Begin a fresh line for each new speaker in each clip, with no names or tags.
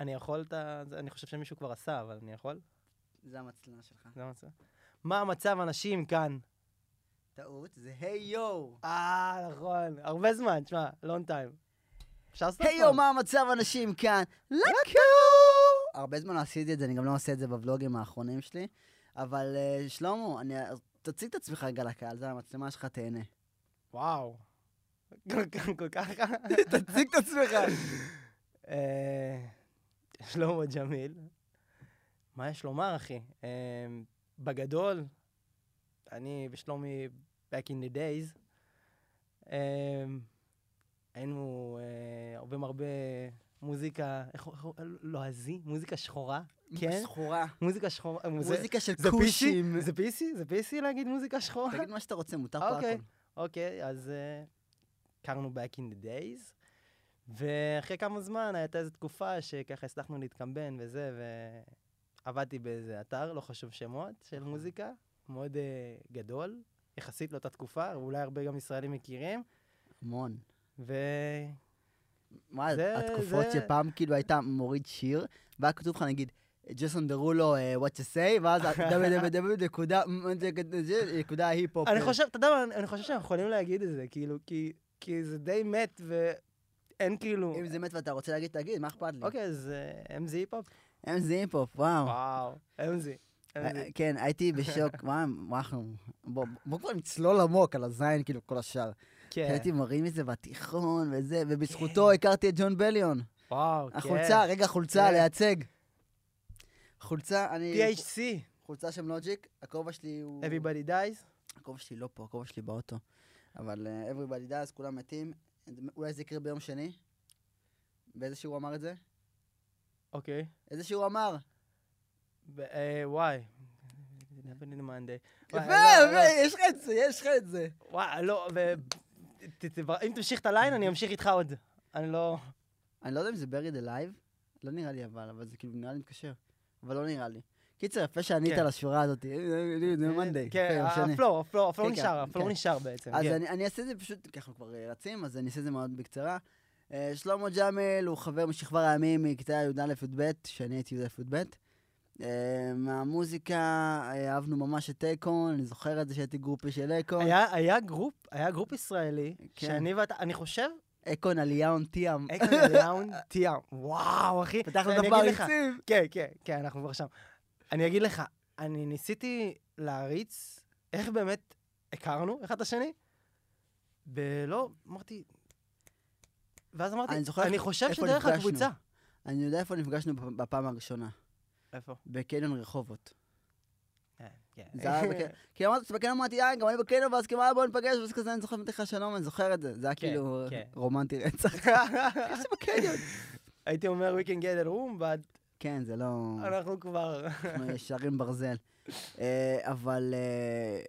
אני יכול את ה... זה- אני חושב שמישהו כבר עשה, אבל אני יכול?
זה המצלמה שלך.
זה המצב. מה המצב, אנשים, כאן?
טעות, זה היי יואו.
אה, נכון. הרבה זמן, תשמע, לונג טיים. אפשר לעשות
היי
פעם?
יואו, מה המצב אנשים כאן? לקו! הרבה זמן לא עשיתי את זה, אני גם לא עושה את זה בוולוגים האחרונים שלי. אבל אה, שלמה, אני... תציג את עצמך רגע לקהל, זה המצלמה שלך, תהנה.
וואו. כל כך- כל כך...
תציג את עצמך.
אה, שלמה ג'מיל. מה יש לומר, אחי? אה, בגדול, אני ושלומי back in the days, אה, היינו אה, אוהבים הרבה מוזיקה, איך- איך- לועזי? מוזיקה שחורה? כן?
סחורה.
מוזיקה שחורה. אה, מוז-
מוזיקה של
זה פיסי?
כושים.
זה פיסי? זה פיסי להגיד מוזיקה שחורה?
תגיד מה שאתה רוצה, מותר פה
אוקיי.
הכל.
אוקיי, אז אה, הכרנו back in the days, ואחרי כמה זמן הייתה איזו תקופה שככה הצלחנו להתקמבן וזה, ועבדתי באיזה אתר, לא חשוב שמות, של
נכון.
מוזיקה, מאוד אה, גדול, יחסית לאותה תקופה, אולי הרבה גם ישראלים מכירים,
המון.
ו...
מה,
זה-
התקופות
זה-
שפעם כאילו הייתה מוריד שיר, והיה כתוב לך נגיד, ג'סון דרולו, אה, what to say, ואז נקודה היפ-הופ.
אני חושב, אתה יודע מה, אני- אני חושב שאנחנו יכולים להגיד את זה, כאילו, כי- כי זה די מת ואין כאילו...
אם זה מת ואתה רוצה להגיד, תגיד, מה אכפת לי?
אוקיי, אז אמזי היפ-הופ?
הם זה היפ-הופ, וואו.
וואו, אמזי. אמזי.
אה, כן, הייתי בשוק, וואי, וואו, בוא- בוא כבר נצלול עמוק על הזין, כאילו, כל השאר.
כן.
הייתי מרים מזה בתיכון וזה, ובזכותו הכרתי את ג'ון בליון.
וואו, כן.
החולצה, רגע, חולצה,
כן.
לייצג. חולצה, אני...
THC,
חולצה שם לוג'יק, הכובע שלי הוא...
Everybody Dies.
הכובע שלי לא פה, הכובע שלי באוטו. אבל אה, everybody does, כולם מתים. אולי זה יקרה ביום שני? באיזה שיעור הוא אמר את זה?
אוקיי.
איזה שיעור הוא אמר?
ב- אה, וואי. Never in a Monday.
יפה,
וואי, לא, לא.
יפה, יש לך את זה, יש לך את זה.
וואי, לא, ו... ת- ת- אם תמשיך את הליין, אני אמשיך איתך עוד. אני לא...
אני לא יודע אם זה buried alive, לא נראה לי אבל, אבל זה כאילו נראה לי מתקשר. אבל לא נראה לי. קיצר, יפה שענית
כן.
על השורה הזאת. אה, אה, זה מונדי.
כן, הפלואו, הפלואו, הפלואו
כן, כן,
נשאר, הפלואו
כן.
נשאר בעצם.
אז
כן.
אני, אני אעשה את זה פשוט, כי אנחנו כבר אה, רצים, אז אני אעשה את זה מאוד בקצרה. אה, שלמה ג'אמל הוא חבר משכבר הימים מכיתה י"א-י"ב, שאני הייתי י"א-י"ב. אה, מהמוזיקה אה, אהבנו ממש את אייקון, אני זוכר את זה שהייתי גרופי של אייקון.
היה- היה גרופ, היה גרופ ישראלי,
לא- כן.
שאני ואתה, אני חושב,
אייקון עלייה און טיאם.
אקרן לאון טיאם. וואו, אחי.
פתחנו
אה, אני
את
אגיד לך,
הפריצים.
כן, כן, כן, אנחנו כבר שם. אני אגיד לך, אני ניסיתי להריץ איך באמת הכרנו אחד את השני, ולא, אמרתי... ואז אמרתי,
אני זוכר
אני
איך-
חושב
איפה
שדרך
נפגשנו."
הקבוצה.
אני יודע איפה נפגשנו בפ- בפעם הראשונה,
איפה?
בקניון רחובות.
כן.
זה היה בקניון, כי אמרתי, בקניון אמרתי, אה, גם אני בקניון, ואז כאילו, "אה, בוא ניפגש, ואז כזה, אני זוכר אמרתי לך שלום, אני זוכר את זה. זה היה
כן,
כאילו
כן.
רומנטי רצח. זה בקניון.
הייתי אומר, we can get a room, but
כן, זה לא...
אנחנו כבר...
אנחנו ישרים ברזל. אה, אבל אה,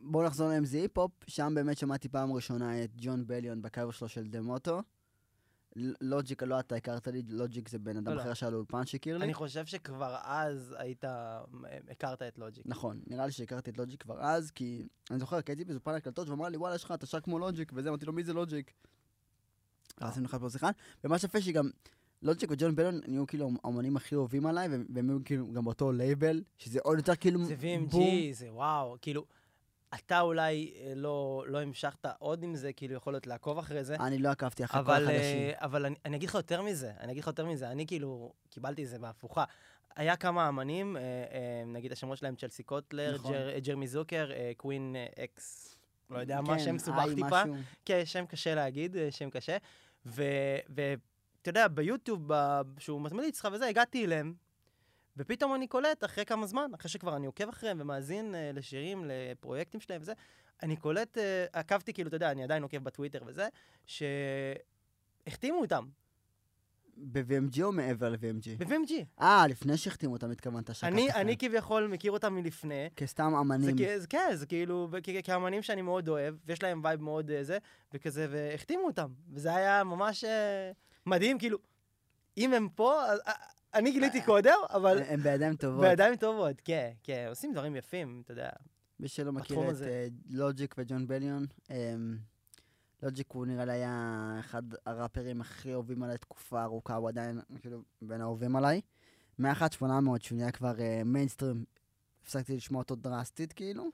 בואו נחזור להם זה היפ-הופ, שם באמת שמעתי פעם ראשונה את ג'ון בליון בקאבר שלו של דה מוטו. ל- לוג'יק, לא אתה הכרת לי, לוג'יק זה בן אדם
לא.
אחר שהיה לו אולפן שהכיר לי.
אני חושב שכבר אז היית, אה, הכרת את לוג'יק.
נכון, נראה לי שהכרתי את לוג'יק כבר אז, כי אני זוכר, כי הייתי באיזה פאנל הקלטות, והוא אמר לי, וואלה, יש לך, אתה שר כמו לוג'יק, וזה, אמרתי לו, מי זה לוג'יק? אז עשינו אחד פלוס אחד, ומה שיפה שגם לוג'יק וג'ון בלון נהיו כאילו האמנים הכי אוהבים עליי, והם והם היו כאילו גם באותו לייבל, שזה עוד יותר כאילו
זה VMG,
בום.
זה וואו, כאילו, אתה אולי אה, לא לא המשכת עוד עם זה, כאילו, יכול להיות לעקוב אחרי זה.
אני לא עקבתי אחרי כל
אבל,
החדשים.
אה, אבל אני, אני אגיד לך יותר מזה, אני אגיד לך יותר מזה, אני כאילו קיבלתי את זה בהפוכה. היה כמה אמנים, אה, אה, נגיד השמות שלהם צ'לסי קוטלר,
נכון.
ג'ר, ג'רמי זוקר, אה, קווין אה, אקס, לא יודע מה,
כן,
שם סובך
היי,
טיפה.
משהו.
כן, שם קשה להגיד, אה, שם קשה. ואתה יודע, ביוטיוב, ב- שהוא מזמליץ לך וזה, הגעתי אליהם. ופתאום אני קולט, אחרי כמה זמן, אחרי שכבר אני עוקב אחריהם ומאזין אה, לשירים, לפרויקטים שלהם וזה, אני קולט, אה, עקבתי כאילו, אתה יודע, אני עדיין עוקב בטוויטר וזה, שהחתימו אותם,
ב-VMG או מעבר ל-VMG?
ב-VMG.
אה, לפני שהחתימו אותם התכוונת שעקבת
אני,
אחריהם.
אני כביכול מכיר אותם מלפני,
כסתם
זה
אמנים.
כ- זה- כן, זה כאילו, וכ- כ- כאמנים שאני מאוד אוהב, ויש להם וייב מאוד אה, זה, וכזה, והחתימו אותם. וזה היה ממש אה, מדהים, כאילו, אם הם פה, אז, אה, אני גיליתי קודם, אבל
הם בידיים טובות.
בידיים טובות, כן, כן, עושים דברים יפים, אתה יודע.
מי שלא מכיר
בתחום
את
הזה.
אה, לוג'יק וג'ון בליון, אמ, לוג'יק הוא נראה לי היה אחד הראפרים הכי אוהבים עליי תקופה ארוכה, הוא עדיין כאילו בין האהובים עליי. מ-1800 שהוא נהיה כבר אה, מיינסטרים, הפסקתי לשמוע אותו דרסטית כאילו.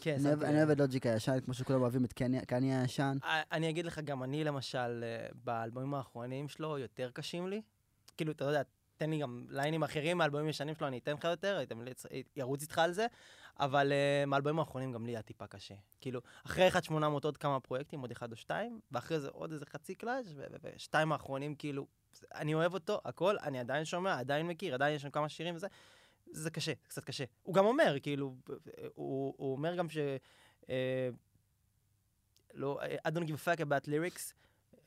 כן,
אני
שמתי
אוהב-
לב.
אני אוהב את לוג'יק הישן, כמו שכולם אוהבים את קני קני הישן.
אה, אני אגיד לך, גם אני למשל, אה, באלבומים האחרונים שלו יותר קשים לי. כאילו, אתה יודע, תן לי גם ליינים אחרים מהאלבומים הישנים שלו, אני אתן לך יותר, אני תמליץ- ארוץ איתך על זה, אבל אה, מהאלבומים האחרונים גם לי היה טיפה קשה. כאילו, אחרי 1-800 עוד כמה פרויקטים, עוד אחד או שתיים, ואחרי זה עוד איזה חצי קלאץ', ושתיים האחרונים, כאילו, זה- אני אוהב אותו, הכל, אני עדיין שומע, עדיין מכיר, עדיין יש שם כמה שירים וזה. זה קשה, קצת קשה. הוא גם אומר, כאילו, הוא, הוא אומר גם ש... אה, לא, I don't give a fuck about lyrics,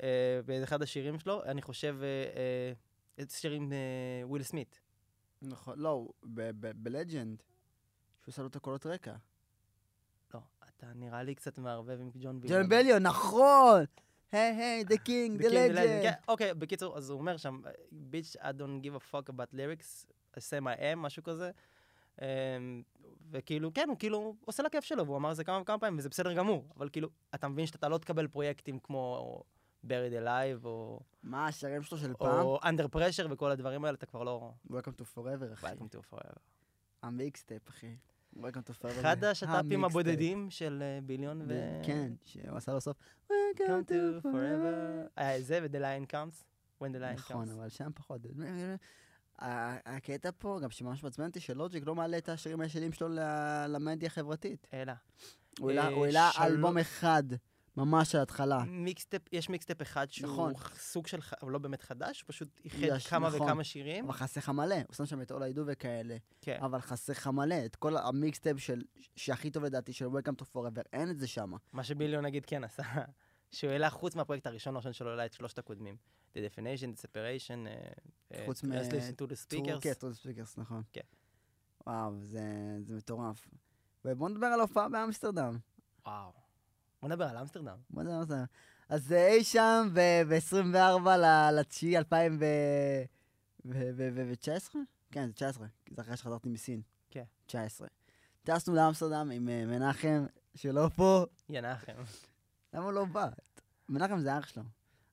אה, באחד השירים שלו, אני חושב, אה, אה, את שיר עם אה, וויל סמית.
נכון, לא, בלג'נד, שהוא עשה לו את הקולות רקע.
לא, אתה נראה לי קצת מערבב עם ג'ון ביליון.
ג'ון בליון, נכון! היי היי, דה קינג,
The King,
דה
The Legend,
לג'נד.
כן, אוקיי, בקיצור, אז הוא אומר שם, ביץ', I don't give a fuck about lyrics, I say my am, משהו כזה. אמ, וכאילו, כן, הוא כאילו עושה לכיף שלו, והוא אמר את זה כמה וכמה פעמים, וזה בסדר גמור. אבל כאילו, אתה מבין שאתה לא תקבל פרויקטים כמו buried alive, או,
מה השירים שלו של פעם?
או under pressure וכל הדברים האלה, אתה כבר לא...
Welcome to forever, אחי.
Welcome to forever.
המיקסטייפ, אחי. Welcome to forever.
אחד
זה
השת"פים
המיקסטייפ.
הבודדים של אה, ביליון ו...
ו- כן, שהוא עשה לו סוף.
Come to forever. היה זה ו-The Lion Comes. When the Lion
נכון,
Comes.
אבל שם פחות. ה- הקטע פה, גם שממש מעצבן אותי, שלוג'יק לא מעלה את השירים הישנים שלו ל- למדיה החברתית.
אלא.
הוא העלה-
אה,
הוא העלה
שלו-
אלבום אחד, ממש על ההתחלה.
מיקסטפ, יש מיקסטפ אחד
אה. נכון.
שהוא סוג של, ח- הוא לא באמת חדש, הוא פשוט איחד
יש,
כמה
נכון.
וכמה שירים.
אבל חסר לך מלא, הוא שם שם את אולה ידו וכאלה.
כן.
אבל חסר לך מלא, את כל המיקסטייפ של, שהכי טוב לדעתי, של Welcome to Forever, אין את זה שם.
מה שביליון נגיד כן עשה, שהוא העלה חוץ מהפרויקט הראשון הראשון שלו, העלה את שלושת הקודמים. The Definition, The Separation, אה, אה,
חוץ
Let's
מ-
Listen to the
כן,
Speakers.
טור ספיקרס, נכון.
כן.
וואו, זה, זה מטורף. ובואו נדבר על ההופעה באמסטרדם.
וואו. בוא נדבר על אמסטרדם.
בואו נדבר על זה. אז אה, אי שם ב-24 לתשיעי 2019? כן, זה 19, כי זה אחרי שחזרתי מסין.
כן.
19. טסנו לאמסטרדם עם אה, מנחם, שלא פה.
ינחם.
למה הוא לא בא? מנחם זה אח שלו.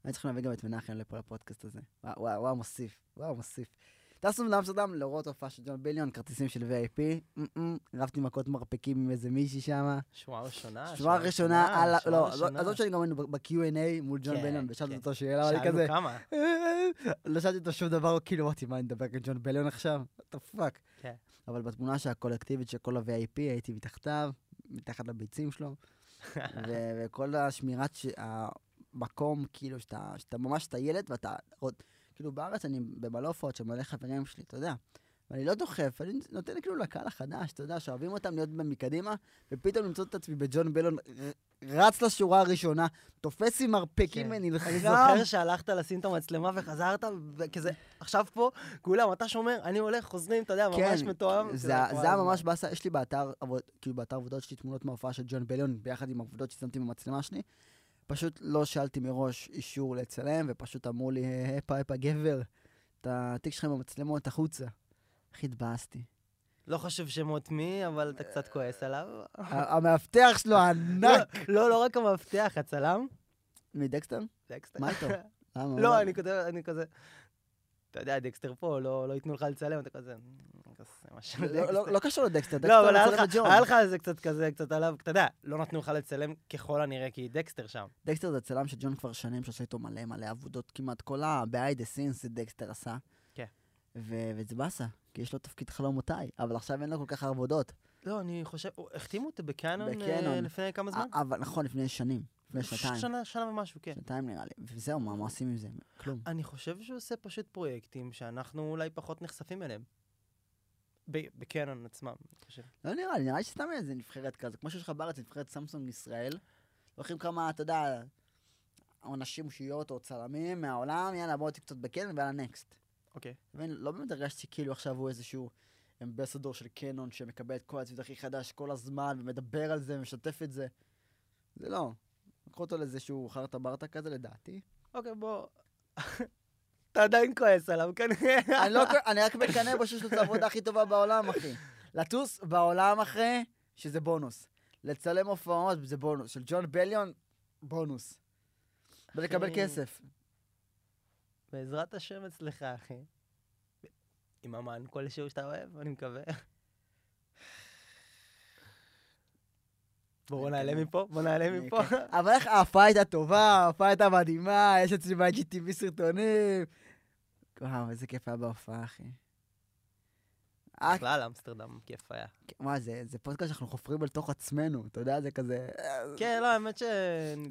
אני צריך להביא גם את מנחם לפה לפודקאסט הזה. וואו, וואו, וואו, מוסיף. וואו, מוסיף. טסנו לאמסטרדם לראות הופעה של ג'ון ביליון, כרטיסים של VIP. מ-מ, רבתי מכות מרפקים עם איזה מישהי שם.
שורה ראשונה.
שורה ראשונה, על ה-
שורה
לא,
אה, ראשונה.
עזוב שאני גם היינו ב- ב-Q&A מול ג'ון
כן,
ביליון, ושאלתי
כן.
אותו שאלה, אבל אני
שאלנו
כזה...
כמה.
לא שאלתי אותו שום דבר, כאילו אמרתי, מה, אני מדבר עם ג'ון ביליון עכשיו? what the fuck.
כן.
אבל בתמונה שהקולקטיבית של כל ה-VIP, הייתי מתחתיו, מתחת לביצים שלו, ו- וכל השמירת ש- המקום, כאילו, שאתה, שאתה ממש, אתה ילד ואתה... עוד- כאילו, בארץ אני במלא הופעות של מלא חברים שלי, אתה יודע. ואני לא דוחף, אני נותן כאילו לקהל החדש, אתה יודע, שאוהבים אותם להיות מקדימה, ופתאום למצוא את עצמי בג'ון ביליון, ר- רץ לשורה הראשונה, תופס עם מרפקים
כן. אני
ונלחם.
זוכר שהלכת לשים את המצלמה וחזרת, וכזה, עכשיו פה, כולם, אתה שומר, אני הולך, חוזרים, אתה יודע, ממש מתואם.
זה,
כזה,
זה
כמו
היה
הזמן.
ממש באסה, יש לי באתר, עבוד, כאילו באתר עבודות שלי תמונות מההופעה של ג'ון בליון, ביחד עם העבודות ששמתי במצלמה שלי. פשוט לא שאלתי מראש אישור לצלם, ופשוט אמרו לי, "אה, הפה, הפה, גבר, את התיק שלך עם המצלמות החוצה. הכי התבאסתי.
לא חשוב שמות מי, אבל אתה קצת כועס עליו.
ה- המאבטח שלו ענק.
לא, לא, לא רק המאבטח, הצלם.
מדקסטר?
דקסטר.
מה איתו? למה?
לא, אני כותב, אני כזה... אתה יודע, דקסטר פה, לא לא ייתנו לך לצלם, אתה כזה... "מ, כזה, משהו
לא-
דקסטר".
לא- לא קשור לדקסטר,
לא,
דקסטר
אבל היה
מצלם את
לך-
ג'ון.
היה לך איזה קצת כזה, קצת עליו, אתה יודע, לא נתנו לך לצלם ככל הנראה, כי דקסטר שם.
דקסטר זה צלם שג'ון כבר שנים שעושה איתו מלא מלא עבודות, כמעט כל ה-by the scenes זה דקסטר עשה.
כן.
ו- וזה באסה, כי יש לו תפקיד חלומותיי, אבל עכשיו אין לו כל כך עבודות.
לא, אני חושב, הוא- החתימו אותו בקאנון אה,
בקאנון.
לפני כמה זמן?
א- אבל נכון, לפני שנים, לפני שנתיים.
שנה, שנה ומשהו, כן.
שנתיים נראה לי, וזהו, מה, מה עושים עם זה? כלום.
אני חושב שהוא עושה פשוט פרויקטים שאנחנו אולי פחות נחשפים אליהם. ב- בקאנון עצמם, אני חושב.
לא נראה לי, נראה לי שסתם איזה נבחרת כזה, כמו שיש לך בארץ נבחרת סמסונג ישראל, לוקחים כמה, אתה יודע, או נשים שיוט או צלמים מהעולם, יאללה, בואו תקצת בקנון ויאללה נקסט.
אוקיי.
אתה מבין? לא באמת הרגשתי כאילו עכשיו הוא איזשהו אמבסדור של קנון שמקבל את כל הציוד הכי חדש כל הזמן, ומדבר על זה, ומשתף את זה. זה לא. לקחו אותו לאיזשהו חרטה ברטה כזה, לדעתי.
אוקיי, בוא. אתה עדיין כועס עליו, כן? כנראה.
אני, לא, אני רק מקנא בו שיש לו את העבודה הכי טובה בעולם, אחי. לטוס בעולם אחרי, שזה בונוס. לצלם הופעות, זה בונוס. של ג'ון בליון, בונוס. ולקבל
אחי,
כסף.
בעזרת השם אצלך, אחי. עם אמן כלשהו שאתה אוהב, אני מקווה. בואו
אני
נעלה
מקווה.
מפה, בואו נעלה
אני-
מפה.
כן. אבל איך ההופעה הייתה טובה, ההופעה הייתה מדהימה, יש אצלי ב-IGTV סרטונים. וואו, איזה כיף היה בהופעה, אחי. אה, כן,
בכלל, אמסטרדם, כיף היה.
מה, זה זה פודקאסט שאנחנו חופרים אל תוך עצמנו, אתה יודע, זה כזה... אה,
כן, לא, האמת ש...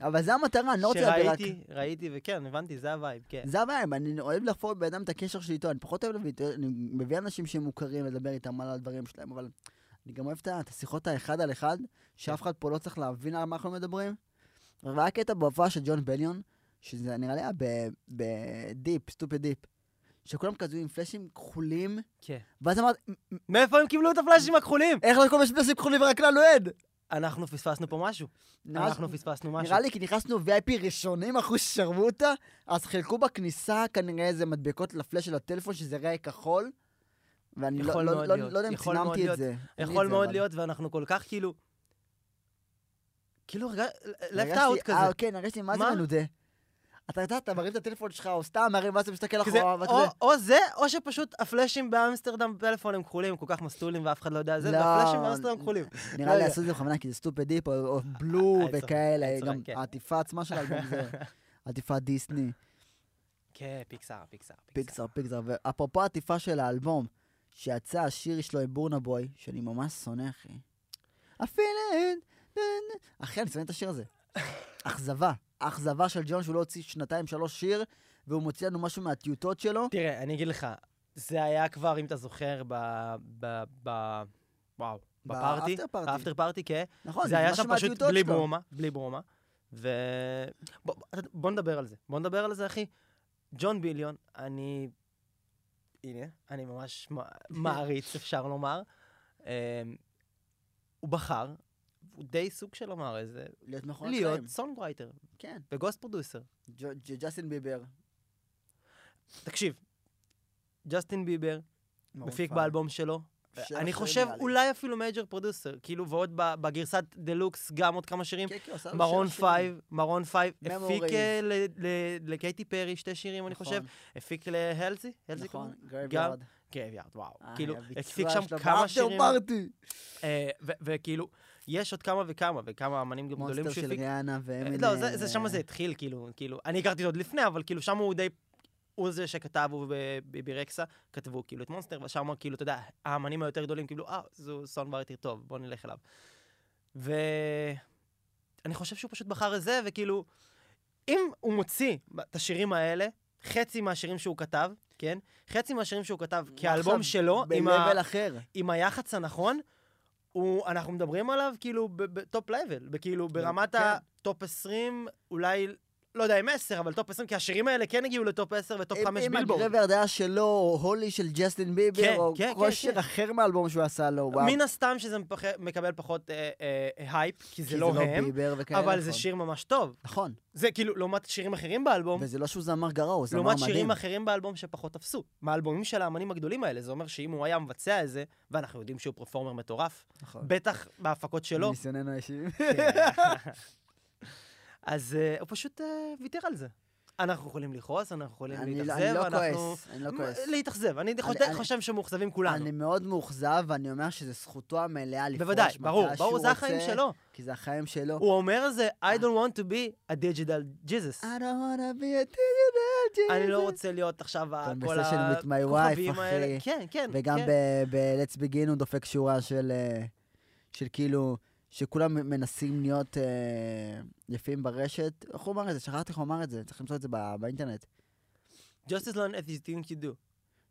אבל זה המטרה, אני לא רוצה לדבר רק...
שראיתי, ראיתי, וכן, הבנתי, זה הווייב, כן.
זה הבעיה, אני אוהב לחפור בבן אדם את הקשר שלי איתו, אני פחות אוהב להביא, אני מביא אנשים שהם מוכרים לדבר איתם על הדברים שלהם, אבל אני גם אוהב את ה- את השיחות האחד על אחד, שאף אחד פה לא צריך להבין על מה אנחנו מדברים. והיה קטע בהופעה של ג'ון בליון, שזה נראה לי היה בדיפ, סטופד דיפ, שכולם כזו עם פלאשים כחולים,
כן.
ואז אמרת,
מאיפה הם קיבלו את הפלאשים הכחולים?
איך לא לכל יש פלאשים כחולים ורק לנו אין?
אנחנו פספסנו פה משהו.
נראה-
אנחנו פספסנו משהו.
נראה לי כי נכנסנו VIP ראשונים, אחוז שרמוטה, אז חילקו בכניסה כנראה איזה מדבקות לפלאש של הטלפון, שזה ראה כחול. ואני לא,
יכול
לא,
מאוד
לא,
להיות,
לא יודע אם
יכול מאוד
צילמתי את
להיות.
זה. אין לי את
יכול
זה,
מאוד
אבל-
להיות, ואנחנו כל כך כאילו... כאילו, לפט
הרגשתי-
אאוט
אה,
כזה.
כן, הרגשתי מה זה
מה?
מנודה. אתה יודע, אתה מרים את הטלפון שלך, או סתם מרים, ואז אתה מסתכל
כזה,
אחורה, ואתה...
או- או זה, או שפשוט הפלאשים באמסטרדם בפלאפון הם כחולים, כל כך מסטולים ואף אחד לא יודע זה,
לא,
והפלאשים באמסטרדם כחולים.
נראה לי
יודע.
עשו את זה בכוונה, כי זה סטופד דיפ, או- או בלו
אני לא. אה, צוחק,
וכאלה,
אני צוחק,
גם
כן.
העטיפה עצמה של האלבום זה עטיפת דיסני,
כן, פיקסאר, פיקסאר, פיקסאר.
פיקסר, פיקסר. ואפרופו העטיפה של האלבום, שיצא השיר שלו עם בורנבוי, שאני ממש שונא, אחי. אפילו... אין- אין- אין. אחי, אני שונא את השיר הזה. אכזבה. אכזבה של ג'ון שהוא לא הוציא שנתיים, שלוש שיר, והוא מוציא לנו משהו מהטיוטות שלו.
תראה, אני אגיד לך, זה היה כבר, אם אתה זוכר, ב- ב... ב- וואו, בפארטי,
באפטר פארטי.
באפטר פארטי, כן.
נכון,
זה היה
משהו
שם פשוט
מהטיוטות
בלי
שלו.
ברומה, בלי ברומה. ו... בוא, בוא- בוא נדבר על זה. בוא נדבר על זה, אחי. ג'ון ביליון, אני... הנה, אני ממש מ- מעריץ, אפשר לומר. אמ, הוא בחר, הוא די סוג של אמר איזה,
להיות מכונת
להיות
נכון, חיים.
סונגרייטר
כן.
וגוסט פרודוסר.
ג'ו- ג'ו- ג'סטין ביבר.
תקשיב, ג'סטין ביבר
מרון
מפיק
פייב.
באלבום שלו.
שבע
אני
שירים
חושב
נראה לי.
אולי אפילו מייג'ר פרודוסר, כאילו, ועוד ב- בגרסת דה לוקס גם עוד כמה שירים.
כן, כן, הוא עשה לנו
מרון
שבע שירים.
פייב, מרון פייב, הפיק
Memories.
אה, ל- ל- לקייטי פרי שתי שירים, אני חושב, הפיק להלזי,
נכון,
הלזי
נכון,
קוראים?
גרייברד.
גרייביארד, וואו.
אה,
כאילו,
הביצוע
הפיק שם
שלו
כמה
באפטר
שירים,
פארטי.
אה, ו- וכאילו, יש עוד כמה וכמה, וכמה אמנים גם גדולים
מונסטר של
שהפיק.
ריאנה
אה,
ואמינה.
לא, זה- זה שם זה התחיל, כאילו, כאילו, אני הכרתי אותו עוד לפני, אבל כאילו, שם הוא די... הוא זה שכתב, הוא ובירקסה, כתבו כאילו את מונסטר, ושם כאילו, אתה יודע, האמנים היותר גדולים כאילו, אה, זו סאונד ברייטר טוב, בוא נלך אליו. ואני חושב שהוא פשוט בחר את זה, וכאילו, אם הוא מוציא את השירים האלה, חצי מהשירים שהוא כתב, כן? חצי מהשירים שהוא כתב כאלבום שלו, עם, ה...
ב-level אחר.
עם היח"צ הנכון, הוא, אנחנו מדברים עליו כאילו בטופ לבל, כאילו ברמת
כן.
הטופ 20, אולי, לא יודע אם 10, אבל טופ 20, כי השירים האלה כן הגיעו לטופ 10 וטופ 5
אם
בילבורד.
הגרייברד היה שלו, או הולי של ג'סטין ביבר,
כן,
או
כן,
כל
כן,
שיר
כן.
אחר מהאלבום שהוא עשה לו, וואו.
מן הסתם שזה מפח- מקבל פחות אה, אה, הייפ, כי
כי
זה לא הם,
ביבר וכאלה,
אבל זה
נכון.
שיר ממש טוב.
נכון,
זה כאילו, לעומת שירים אחרים באלבום,
וזה לא שהוא זמר גרוע, הוא זמר מדהים.
לעומת שירים אחרים באלבום שפחות תפסו. מהאלבומים של האמנים הגדולים האלה, זה אומר שאם הוא היה מבצע את זה, ואנחנו יודעים שהוא פרפורמר מטורף,
נכון.
בטח בהפקות שלו, כן,
מניסיוננו האישי. כן.
אז אה, הוא פשוט אה, ויתר על זה. אנחנו יכולים לכעוס, אנחנו יכולים
אני לא-
להתאכזב,
אני לא
אנחנו...
כועס, אני לא כועס.
להתאכזב, אני
אני- אני-
חושב שמאוכזבים כולנו.
אני מאוד מאוכזב, ואני אומר שזו זכותו המלאה לפרוש
בוודאי, ברור,
מתי
ברור,
שהוא
זה החיים
רוצה,
שלו.
כי זה החיים שלו.
הוא אומר את זה, I don't want to be a digital Jesus.
I don't wanna be a digital Jesus.
אני לא רוצה להיות עכשיו ה- כל
Conversation with my wife,
הכוכבים האלה.
אחי.
כן, כן,
וגם
כן.
ב-Let's Begin הוא דופק שורה של, אה, של כאילו, שכולם מנסים להיות אה, יפים ברשת. איך הוא אמר את זה? שכחתי איך הוא אמר את זה, צריך למצוא את זה ב- באינטרנט.
Just as long as you think you do.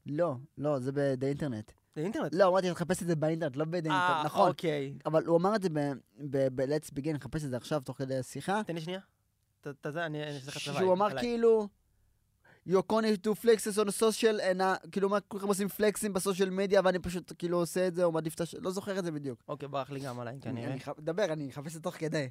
לא, לא, זה ב- באינטרנט.
זה אינטרנט.
לא, אמרתי, תחפש את זה באינטרנט, לא באינטרנט,
אה,
נכון.
אוקיי.
אבל הוא אמר את זה ב-Let's Begin, נחפש את זה עכשיו, תוך כדי השיחה.
תן לי שנייה. אתה- אתה זה, אני אני אעשה כן, לך את הווייב.
שהוא אמר
עליי.
כאילו, you're going to flexes on social, and uh, כאילו מה, כולכם עושים פלקסים בסושיאל מדיה, ואני פשוט כאילו עושה את זה, או מעדיף את הש... לא זוכר את זה בדיוק.
אוקיי, ברח לי גם עליי, כנראה.
אני ח- דבר, אני אחפש את זה תוך כדי.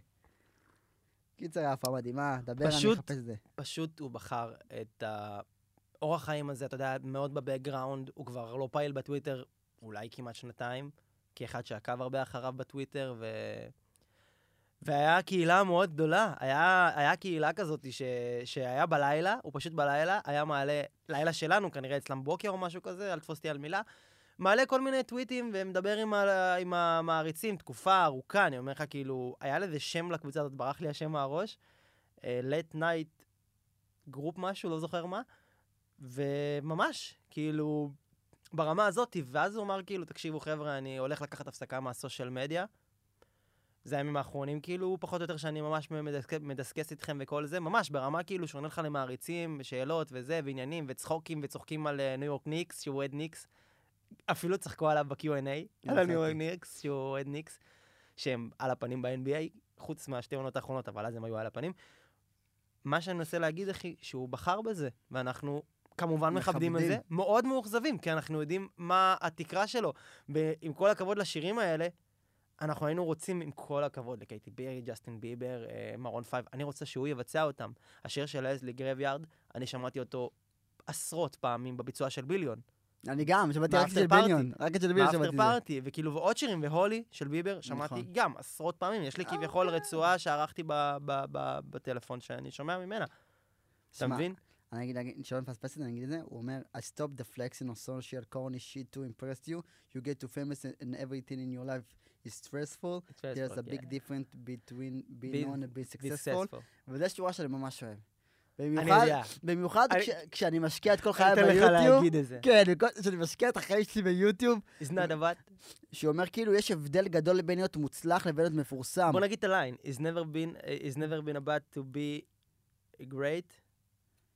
קיצר, יפה מדהימה, דבר, אני
פשוט-
אחפש את זה.
פשוט הוא בחר את האורח חיים הזה, אתה יודע, מאוד בבקגראונד, הוא כבר לא פעיל בטוויטר אולי כמעט שנתיים, כאחד שעקב הרבה אחריו בטוויטר, ו... והיה קהילה מאוד גדולה. היה, היה קהילה כזאת ש, שהיה בלילה, הוא פשוט בלילה, היה מעלה, לילה שלנו, כנראה אצלם בוקר או משהו כזה, אל תפוס אותי על מילה, מעלה כל מיני טוויטים ומדבר עם, ה, עם המעריצים תקופה ארוכה, אני אומר לך, כאילו, היה לזה שם לקבוצה הזאת, ברח לי השם מהראש, אה, late night גרופ משהו, לא זוכר מה, וממש, כאילו, ברמה הזאת, ואז הוא אמר כאילו, תקשיבו חבר'ה, אני הולך לקחת הפסקה מהסושיאל מדיה. זה הימים האחרונים, כאילו, פחות או יותר שאני ממש מדסק, מדסקס איתכם וכל זה, ממש ברמה כאילו שעונה לך למעריצים, שאלות וזה, ועניינים, וצחוקים, וצוחקים על אה, ניו יורק ניקס, שהוא אוהד ניקס. אפילו צחקו עליו ב-Q&A, על
יופי.
הניו יורק ניקס, שהוא אוהד ניקס, שהם על הפנים ב-NBA, חוץ מהשתי עונות האחרונות, אבל אז הם היו על הפנים. מה שאני מנסה להגיד, אחי, שהוא בחר בזה, ואנחנו כמובן מכבדים את
מכבדים.
זה, מאוד מאוכזבים, כי אנחנו יודעים מה התקרה שלו. ועם כל הכבוד לשירים האלה, אנחנו היינו רוצים, עם כל הכבוד לקייטי בירי, ג'סטין ביבר, אה, מרון פייב, אני רוצה שהוא יבצע אותם. השיר של לזלי גרביארד, אני שמעתי אותו עשרות פעמים בביצוע של ביליון.
אני גם, שמעתי רק את
באפטר
של
פארטי.
בניון, רק את של בניון
באפטר
שמעתי את זה.
פארטי, וכאילו, ועוד שירים, והולי של ביבר, שמעתי
נכון.
גם עשרות פעמים. יש לי כביכול רצועה שערכתי ב- ב- ב- בטלפון שאני שומע ממנה, אתה
שמע,
מבין?
אני אגיד, אני- שלא נפספס את זה, אני אגיד את זה, הוא אומר, I stop the flexing on social corny shit to impress you, you get too famous and everything in your life is stressful, there's a
כן.
big difference between being
Being
known and being successful,
successful.
וזו שורה שאני ממש אוהב.
אני
במיוחד,
יודע,
במיוחד
אני-
כש- כשאני משקיע את כל
אני
חיי
אתן לך
ביוטיוב,
להגיד את זה.
כן, וכל- כשאני משקיע את החיים שלי ביוטיוב,
It's not about...
שהוא אומר כאילו, יש הבדל גדול לבין להיות מוצלח לבין להיות מפורסם.
בוא נגיד את הליין. It's never been, it's never been about to be great.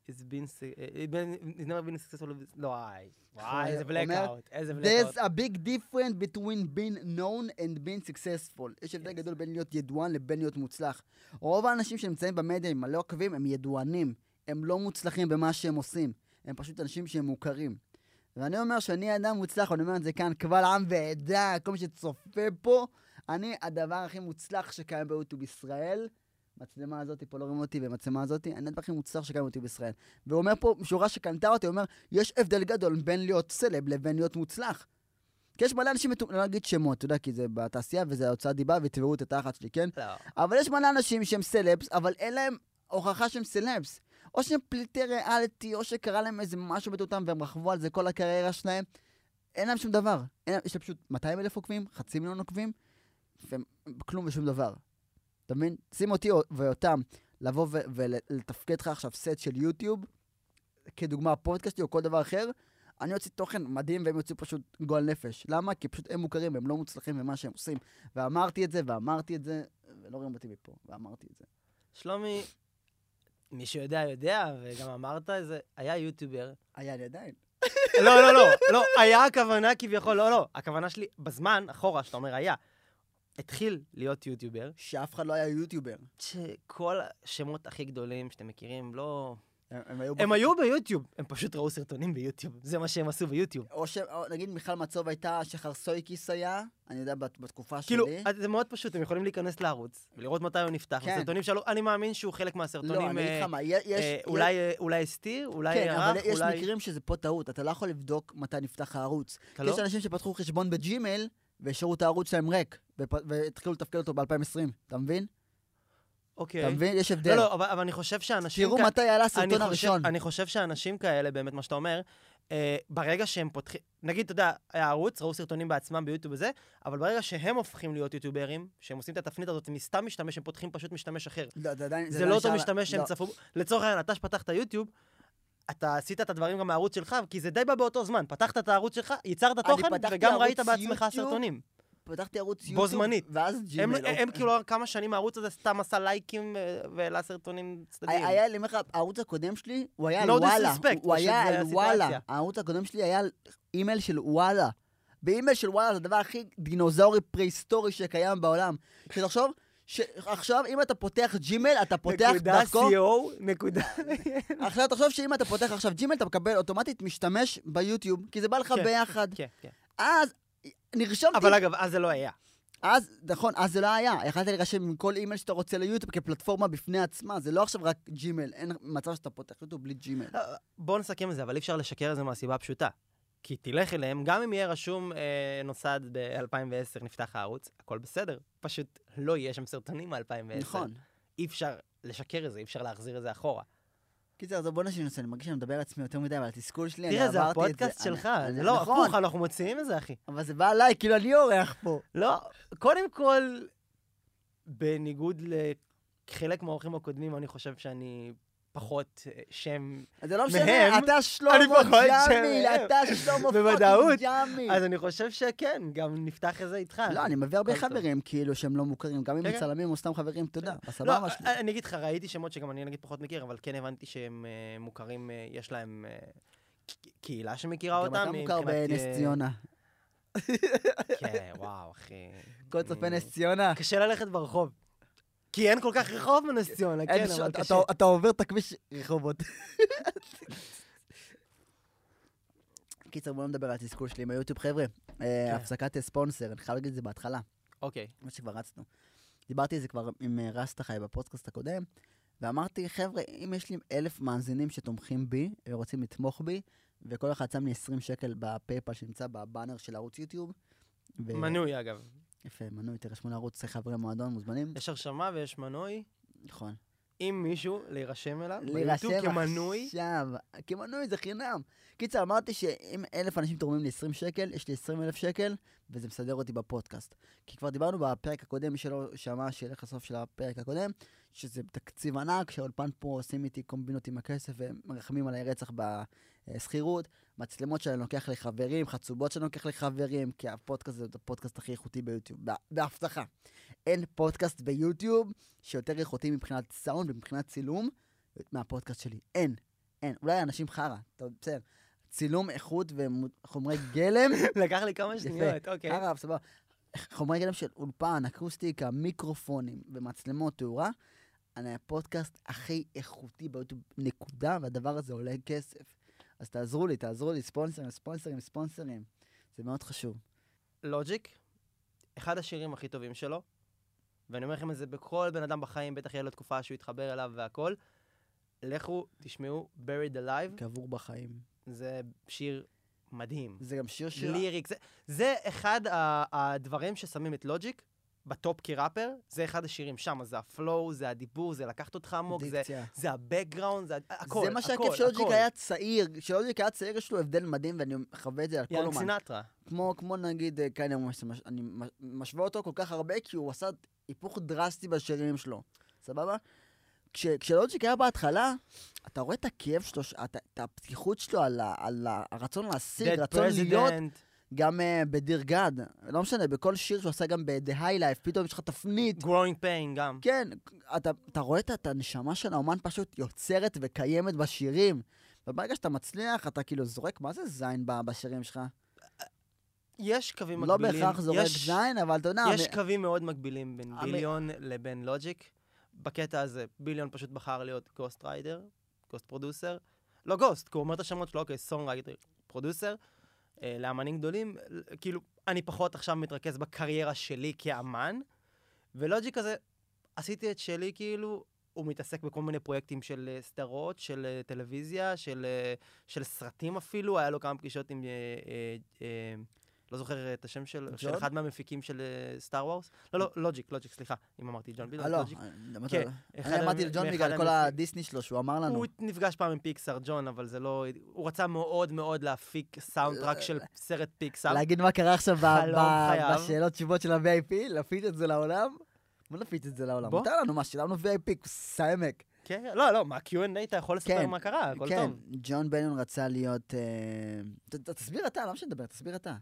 It's been, su- eh, it's been- it's never been successful. לא, איי. וואי, איזה
אומר,
blackout. איזה blackout.
There's a big difference between being known and being successful. יש הבדל
Yes.
גדול בין להיות ידוען לבין להיות מוצלח. רוב האנשים שנמצאים במדיה, הם מלא עוקבים, הם ידוענים. הם לא מוצלחים במה שהם עושים. הם פשוט אנשים שהם מוכרים. ואני אומר שאני אדם מוצלח, ואני אומר את זה כאן קבל עם ועדה, כל מי שצופה פה, אני הדבר הכי מוצלח שקיים ביוטיוב ישראל. המצלמה הזאת, פה לא רואים אותי, והמצלמה הזאת, אני הדבר הכי מוצלח שקיים ביוטיוב ישראל. והוא אומר פה, שורה שקנתה אותי, הוא אומר, יש הבדל גדול בין להיות סלב לבין להיות מוצלח. כי יש מלא אנשים, מטו- לא נגיד שמות, אתה יודע, כי זה בתעשייה וזה הוצאת דיבה ויתבעו את התחת שלי, כן?
לא.
אבל יש מלא אנשים שהם סלבס, אבל אין להם הוכחה שהם סלבס. או שהם פליטי ריאליטי, או שקרה להם איזה משהו בטוטם והם רכבו על זה כל הקריירה שלהם. אין להם שום דבר. אין, להם- יש להם פשוט 200 אלף עוקבים, חצי מיליון עוקבים, והם כלום ושום דבר. אתה מבין? שים אותי או- ואותם לבוא ו- ולתפקד לך עכשיו סט של יוטיוב, כדוגמה פודקאסטי או כל דבר אחר, אני אוציא תוכן מדהים והם יוציאו פשוט גועל נפש. למה? כי פשוט הם מוכרים, הם לא מוצלחים במה שהם עושים. ואמרתי את זה, ואמרתי את זה, ולא רואים אותי מפה, ואמרתי את זה.
שלומי, מי שיודע יודע, וגם אמרת את זה, היה יוטיובר.
היה לי עדיין.
לא, לא, לא, לא, היה הכוונה כביכול, לא, לא. הכוונה שלי, בזמן, אחורה, שאתה אומר היה, התחיל להיות יוטיובר,
שאף אחד לא היה יוטיובר.
שכל השמות הכי גדולים שאתם מכירים, לא...
הם, הם היו...
הם
בח-
היו ביוטיוב, הם פשוט ראו סרטונים ביוטיוב, זה מה שהם עשו ביוטיוב.
או ש... או, נגיד מיכל מצוב הייתה, שחר סויקיס היה, אני יודע, בת- בתקופה
כאילו,
שלי. לא,
אז זה מאוד פשוט, הם יכולים להיכנס לערוץ, ולראות מתי הוא נפתח,
כן.
הסרטונים שלו, אני מאמין שהוא חלק
לא,
מהסרטונים,
אני
אה,
אגיד לך מה, יש...
אה,
יש-
אולי אה, אולי הסתיר, אולי
כן,
ערך,
אבל יש
אולי...
מקרים שזה פה טעות, אתה לא יכול לבדוק מתי נפתח הערוץ.
אתה
כי
לא?
יש אנשים שפתחו חשבון בג'ימל, והשאירו את הערוץ שלהם ריק, ופ- והתחילו לתפקד אותו ב-2020, אתה מבין? אתה
אוקיי.
מבין? יש הבדל.
לא, לא, אבל אבל אני חושב שאנשים...
תראו
כ-
מתי עלה
אני
הסרטון
חושב-
הראשון.
אני חושב שאנשים כאלה, באמת, מה שאתה אומר, אה, ברגע שהם פותחים, נגיד, אתה יודע, היה ערוץ, ראו סרטונים בעצמם ביוטיוב וזה, אבל ברגע שהם הופכים להיות יוטיוברים, שהם עושים את התפנית הזאת מסתם משתמש, הם פותחים פשוט משתמש אחר.
לא, זה עדיין...
זה
עדיין
לא אותו
נשאר-
משתמש שהם
לא,
צפו, בו. לצורך העניין, אתה שפתחת יוטיוב, אתה עשית את הדברים גם מהערוץ שלך, כי זה די בא באותו זמן. פתחת את הערוץ שלך, ייצרת תוכן,
פתחתי
וגם
ערוץ
ראית בעצמך
יוטיוב,
סרטונים.
פתחתי ערוץ
בו
יוטיוב,
זמנית.
ואז
הם,
ג'ימל.
הם
אוקיי.
כאילו כמה שנים הערוץ הזה סתם עשה לייקים אה, והעלה סרטונים צדדיים.
היה לי, אומר לך, הערוץ הקודם שלי, הוא היה על
No
וואלה.
disrespect,
הוא
פשוט
היה
זה
על וואלה.
הסיטואציה.
הערוץ הקודם שלי היה על אימייל של וואלה. באימייל של וואלה זה הדבר הכי דינוזאורי פרה-היסטורי שקיים בעולם. שתחשוב, שעכשיו אם אתה פותח ג'ימל, אתה פותח
נקודה
דרכו,
co, נקודה...
עכשיו תחשוב שאם אתה פותח עכשיו ג'ימל, אתה מקבל אוטומטית משתמש ביוטיוב, כי זה בא לך
כן,
ביחד.
כן, כן.
אז נרשמתי
אבל אגב, אז זה לא היה.
אז, נכון, אז זה לא היה. יכלת להירשם עם כל אימייל שאתה רוצה ליוטיוב כפלטפורמה בפני עצמה. זה לא עכשיו רק ג'ימל. אין מצב שאתה פותח יוטיוב בלי ג'ימל.
בואו נסכם את זה, אבל אי אפשר לשקר את זה מהסיבה הפשוטה. כי תלך אליהם, גם אם יהיה רשום אה, נוסד ב-2010, נפתח הערוץ, הכל בסדר. פשוט לא יהיה שם סרטונים מ-2010.
נכון.
אי אפשר לשקר את זה, אי אפשר להחזיר את זה אחורה.
קיצר, אז בוא נשאיר נושא, אני מרגיש שאני מדבר על עצמי יותר מדי, אבל התסכול שלי, אני
תראה, זה
עברתי כן, את זה.
הפודקאסט
אני-
שלך,
אני-
זה לא,
נכון,
הפוך, אנחנו מוציאים את זה, אחי.
אבל זה בא עליי, כאילו אני אורח פה.
לא, קודם כל, בניגוד לחלק מהאורחים הקודמים, אני חושב שאני פחות אה, שם,
אז זה לא
מהם,
משנה, אתה שלמה
פחות
ג'מיל,
שלהם.
אתה שלמה
בוודאות.
פאקינג ג'מיל.
אז אני חושב שכן, גם נפתח את זה איתך.
כן. לא, אני מביא הרבה
הכל טוב.
חברים, כאילו, שהם לא מוכרים, גם אם
כן,
הם
כן.
צלמים או סתם חברים, תודה,
לא,
בסבבה שלי.
אני- אני אגיד לך, ראיתי שמות שגם אני נגיד פחות מכיר, אבל כן הבנתי שהם אה, מוכרים, אה, יש להם אה, ק- קהילה שמכירה
גם
אה, אותם.
אתה מוכר
מבחינת,
בנס
אה,
ציונה.
כן, וואו, אחי.
כל צופה
אני-
נס ציונה.
קשה ללכת ברחוב. כי אין כל כך רחוב בנס ציונה,
אין
כן,
ש-
אבל
אתה-
קשה.
אתה עובר את הכביש רחובות. קיצר, בוא נדבר על התסכול שלי עם היוטיוב. חבר'ה, אה,
כן.
הפסקת ספונסר, אני חייב להגיד את זה בהתחלה,
אוקיי.
מה שכבר רצנו. דיברתי על זה כבר עם אה, רסטה חי בפודקאסט הקודם, ואמרתי, חבר'ה, אם יש לי אלף מאזינים שתומכים בי ורוצים לתמוך בי, וכל אחד שם לי 20 שקל בפייפל שנמצא בבאנר של ערוץ יוטיוב. ו-
מנוי, אגב.
יפה, מנוי, תירשמו לערוץ חברי מועדון, מוזמנים.
יש הרשמה ויש מנוי.
נכון.
אם מישהו להירשם אליו,
להירשם
ביוטיוב כמנוי,
עכשיו, כמנוי זה חינם. קיצר, אמרתי שאם אלף אנשים תורמים לי 20 שקל, יש לי 20 אלף שקל, וזה מסדר אותי בפודקאסט. כי כבר דיברנו בפרק הקודם, מי שלא שמע, שילך לסוף של הפרק הקודם, שזה תקציב ענק, שהאולפן פה עושים איתי קומבינות עם הכסף, ומרחמים עליי רצח בשכירות, מצלמות שאני לוקח לחברים, חצובות שאני לוקח לחברים, כי הפודקאסט זה הפודקאסט הכי איכותי ביוטיוב, בה- בהבטחה. אין פודקאסט ביוטיוב שיותר איכותי מבחינת סאונד ומבחינת צילום מהפודקאסט שלי. אין, אין. אולי אנשים חרא, טוב, בסדר. צילום איכות וחומרי גלם,
לקח לי כמה
יפה.
שניות, אוקיי.
חרא, סבבה. חומרי גלם של אולפן, אקוסטיקה, מיקרופונים ומצלמות תאורה. אני הפודקאסט הכי איכותי ביוטיוב, נקודה, והדבר הזה עולה כסף. אז תעזרו לי, תעזרו לי, ספונסרים, ספונסרים, ספונסרים. זה מאוד חשוב.
לוג'יק, אחד השירים הכי טובים שלו, ואני אומר לכם את זה בכל בן אדם בחיים, בטח יהיה לו תקופה שהוא יתחבר אליו והכל. לכו, תשמעו, Buried Alive,
קבור בחיים.
זה שיר מדהים.
זה גם שיר שיר.
ליריק, זה, זה אחד ה- הדברים ששמים את לוג'יק בטופ כראפר, זה אחד השירים שם, זה הפלואו, זה הדיבור, זה לקחת אותך עמוק, זה,
דיקציה.
זה הבקגראונד, זה הכל, הכל,
זה מה שהכיף של לוג'יק היה צעיר. כשלוג'יק היה צעיר יש לו הבדל מדהים, ואני חווה את זה על כל
יאנג
אומן.
סינטרה.
כמו, כמו נגיד אה, קניה, ווסט, מש- אני מ- משווה אותו כל כך הרבה, כי הוא עשה היפוך דרסטי בשירים שלו, סבבה? כש, כשלוג'יק היה בהתחלה, אתה רואה את הכאב שלו, ש- את, את הפתיחות שלו על, ה, על ה, הרצון להשיג,
Dead
רצון להיות,
President.
גם uh, בדיר גד, לא משנה, בכל שיר שהוא עשה גם ב-The High Life, פתאום יש לך תפנית.
growing pain גם.
כן, אתה, אתה רואה את את הנשמה של האומן פשוט יוצרת וקיימת בשירים. וברגע שאתה מצליח, אתה כאילו זורק, מה זה זין ב- בשירים שלך?
יש קווים
לא
מקבילים.
בהכרח זורק
יש-
זין, אבל אתה יודע,
יש
מ-
קווים מאוד מקבילים בין
המ-
ביליון לבין לוג'יק. בקטע הזה, ביליון פשוט בחר להיות גוסט ריידר, גוסט פרודוסר. לא גוסט, כי הוא אומר את השמות שלו, אוקיי, סונג ריידר, פרודוסר. אה, לאמנים גדולים, אה, כאילו, אני פחות עכשיו מתרכז בקריירה שלי כאמן, ולוג'יק הזה, עשיתי את שלי, כאילו, הוא מתעסק בכל מיני פרויקטים של אה, סדרות, של אה, טלוויזיה, של, אה, של סרטים אפילו, היה לו כמה פגישות עם, אה, אה, אה, לא זוכר את השם של, של
ג'ון?
אחד מהמפיקים של סטאר וורס. לא, לא, לוג'יק, לוג'יק, סליחה, אם אמרתי ג'ון בידון,
אה, לא,
לוג'יק.
למה אתה-
כן, אחד
אני אמרתי
המ-
לג'ון
מאחד
בגלל כל
המפיק-
הדיסני שלו שהוא אמר לנו.
הוא נפגש פעם עם פיקסאר, ג'ון, אבל זה לא... הוא רצה מאוד מאוד להפיק סאונד טראק של סרט פיקסאר.
אה, להגיד מה קרה עכשיו ב-
חלום
ב-
חייו.
בשאלות תשובות של ה-VIP, להפיץ את זה לעולם? בוא נפיץ את זה לעולם.
בוא.
מותר לנו מה, שילמנו VIP, סעמק.
כן, לא, לא, מה, Q&A אתה יכול לספר
כן,
מה קרה, אה, הכל
כן,
טוב.
ג'ון בניון רצה להיות... אה, ת- ת- תסביר אתה, למה שנדבר? תסביר אתה.